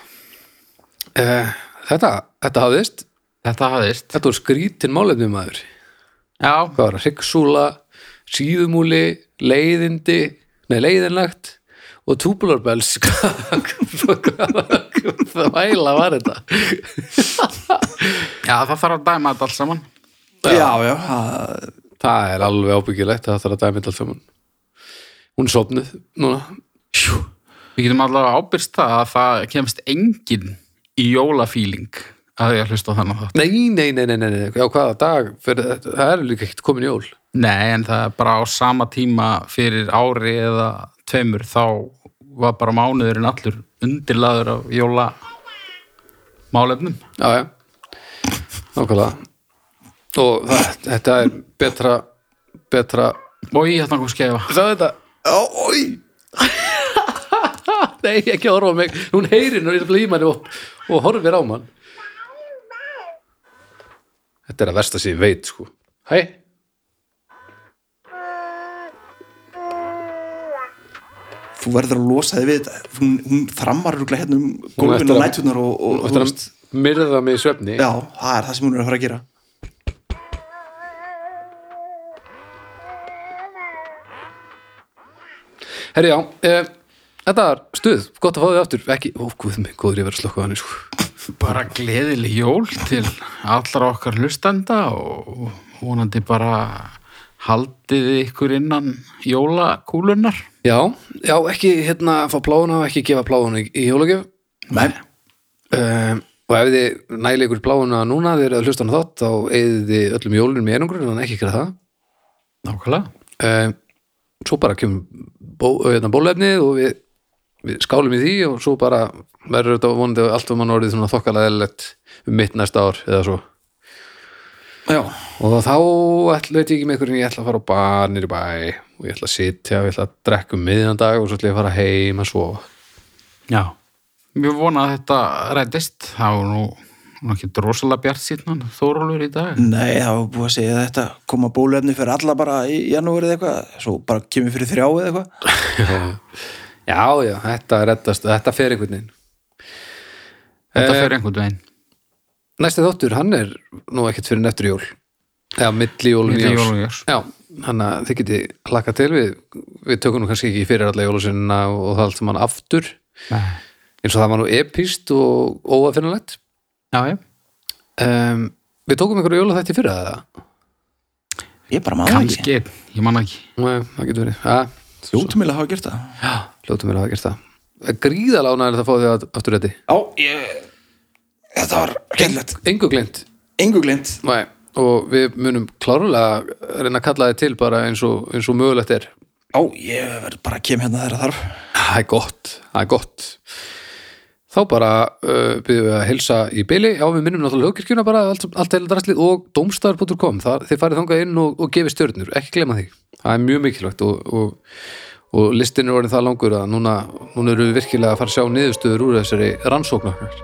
[SPEAKER 1] Eh, þetta, þetta hafðist
[SPEAKER 2] Þetta hafðist.
[SPEAKER 1] þetta voru skrítin málefni maður
[SPEAKER 2] Já.
[SPEAKER 1] hvað var það, hryggsúla, síðumúli leiðindi, nei leiðinlegt og túbularbels hvað væla var þetta
[SPEAKER 2] Já, það þarf að dæma þetta alls saman.
[SPEAKER 3] já, já, það-
[SPEAKER 1] það er alveg ábyggilegt það þarf að dæmi þetta allt saman hún er sopnuð núna
[SPEAKER 2] Við getum allavega ábyrst það að það kemst engin í jólafíling að því að hlusta á þannig þátt.
[SPEAKER 1] nei, nei, nei, nei, nei, nei. Já, hvaða dag fyrir, þetta? það er líka ekkert komin jól
[SPEAKER 2] Nei, en það er bara á sama tíma fyrir ári eða tveimur þá var bara mánuðurinn allur undirlaður af jólamálefnum.
[SPEAKER 1] Já, já, nákvæmlega og það, þetta er betra betra hérna
[SPEAKER 2] Og ég hætti náttúrulega skeifa.
[SPEAKER 1] Sjáðu þetta
[SPEAKER 3] já, oi
[SPEAKER 1] nei, ekki að horfa á mig hún heyrir nú í blímanni og, og horfir á mann þetta er að versta sér veit sko hæ
[SPEAKER 3] þú verður að losa þig við þetta hún, hún þrammar rúglega hérna um
[SPEAKER 1] ætlar
[SPEAKER 3] gólfinu
[SPEAKER 1] að-
[SPEAKER 3] og nættunar og, og,
[SPEAKER 1] og
[SPEAKER 3] og þú
[SPEAKER 1] þetta
[SPEAKER 3] veist,
[SPEAKER 1] myrða mig í svefni
[SPEAKER 3] já, það er það sem hún er að fara að gera
[SPEAKER 1] herri já, e, þetta er stuð gott að fá þig aftur, ekki, ó guð mig góður ég verið að slokka hann sko
[SPEAKER 2] bara gleðileg jól til allra okkar hlustenda og vonandi bara haldið ykkur innan jólakúlunar
[SPEAKER 1] Já, já, ekki hérna fá pláuna og ekki gefa pláuna í, í jólagjöf
[SPEAKER 3] Nei.
[SPEAKER 1] um, og ef þið næli ykkur pláuna núna þeir eru að hlusta hann þátt þá eigið þið öllum jólunum í einangrun en ekki ykkur það Nákvæmlega um, Svo bara kemur bó, hérna, bólefnið og við, við skálum í því og svo bara verður þetta vonandi allt um mann orðið svona þokkalega eðlilegt um mitt næsta ár eða svo
[SPEAKER 3] já,
[SPEAKER 1] og þá ætla, veit ég ekki með hvernig ég ætla að fara á bar nýri bæ og ég ætla að sitja og ég ætla að drekka um miðjan dag og svo ætla ég að fara heim að sofa
[SPEAKER 2] Já, mjög vona að þetta rættist, það var nú nú ekki drosalega bjart síðan Þórólfur í dag,
[SPEAKER 3] nei, það var búið að segja þetta koma bólefni fyrir alla bara í janúar eða eitthvað, svo bara kemur fyrir þrjá eða eitthvað,
[SPEAKER 1] já, já, þetta reddast, þetta fer einhvern veginn
[SPEAKER 2] þetta fer einhvern veginn
[SPEAKER 1] næsti þáttur, hann er nú ekkert fyrir neftur jól eða milli jól og
[SPEAKER 2] Milli
[SPEAKER 1] nýárs.
[SPEAKER 2] jól og nýárs.
[SPEAKER 1] já, hann að þið geti hlakka til við, við tökum nú kannski ekki fyrir alla jólusinna og það allt sem hann aftur
[SPEAKER 2] Nei.
[SPEAKER 1] eins og það var nú epíst og óafinnalegt
[SPEAKER 2] Já, já,
[SPEAKER 1] um, við tókum einhverju jóla þetta fyrir það
[SPEAKER 3] ég bara maður ekki
[SPEAKER 2] kannski, einn, ég man ekki
[SPEAKER 1] Nei, það getur verið ja,
[SPEAKER 3] ljótumilega hafa gert það
[SPEAKER 1] Ljótum við að hafa gert það. Eh, það er Gríðalána er það að fá því að aftur þetta.
[SPEAKER 3] Já, ég... Þetta var gæðlegt.
[SPEAKER 1] Engu gleymt.
[SPEAKER 3] Engu glind.
[SPEAKER 1] Nei. Og við munum klárlega reyna að kalla þið til bara eins og, eins og mögulegt er.
[SPEAKER 3] Já, ég verð bara að kem hérna þegar þarf.
[SPEAKER 1] Það er gott. Það er gott. Þá bara uh, byrjum við að helsa í byli. Já, við minnum náttúrulega högkirkjuna bara allt, allt heila drastlið og domstar.com. Það, þið farið þangað inn og, og gefið stjörnur. Ekki gleyma því. Það er mjög mikilvægt og, og, og listin er orðin það langur að núna, núna eru við virkilega að fara að sjá niðurstöður úr þessari rannsóknar.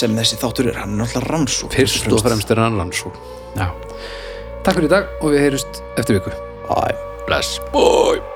[SPEAKER 3] Sem þessi þáttur er, hann er náttúrulega rannsók.
[SPEAKER 1] fyrst og fremst er hann rannsók
[SPEAKER 2] Já.
[SPEAKER 1] Takk fyrir í dag og við heyrjumst eftir viku
[SPEAKER 3] Æ.
[SPEAKER 1] Bless, bye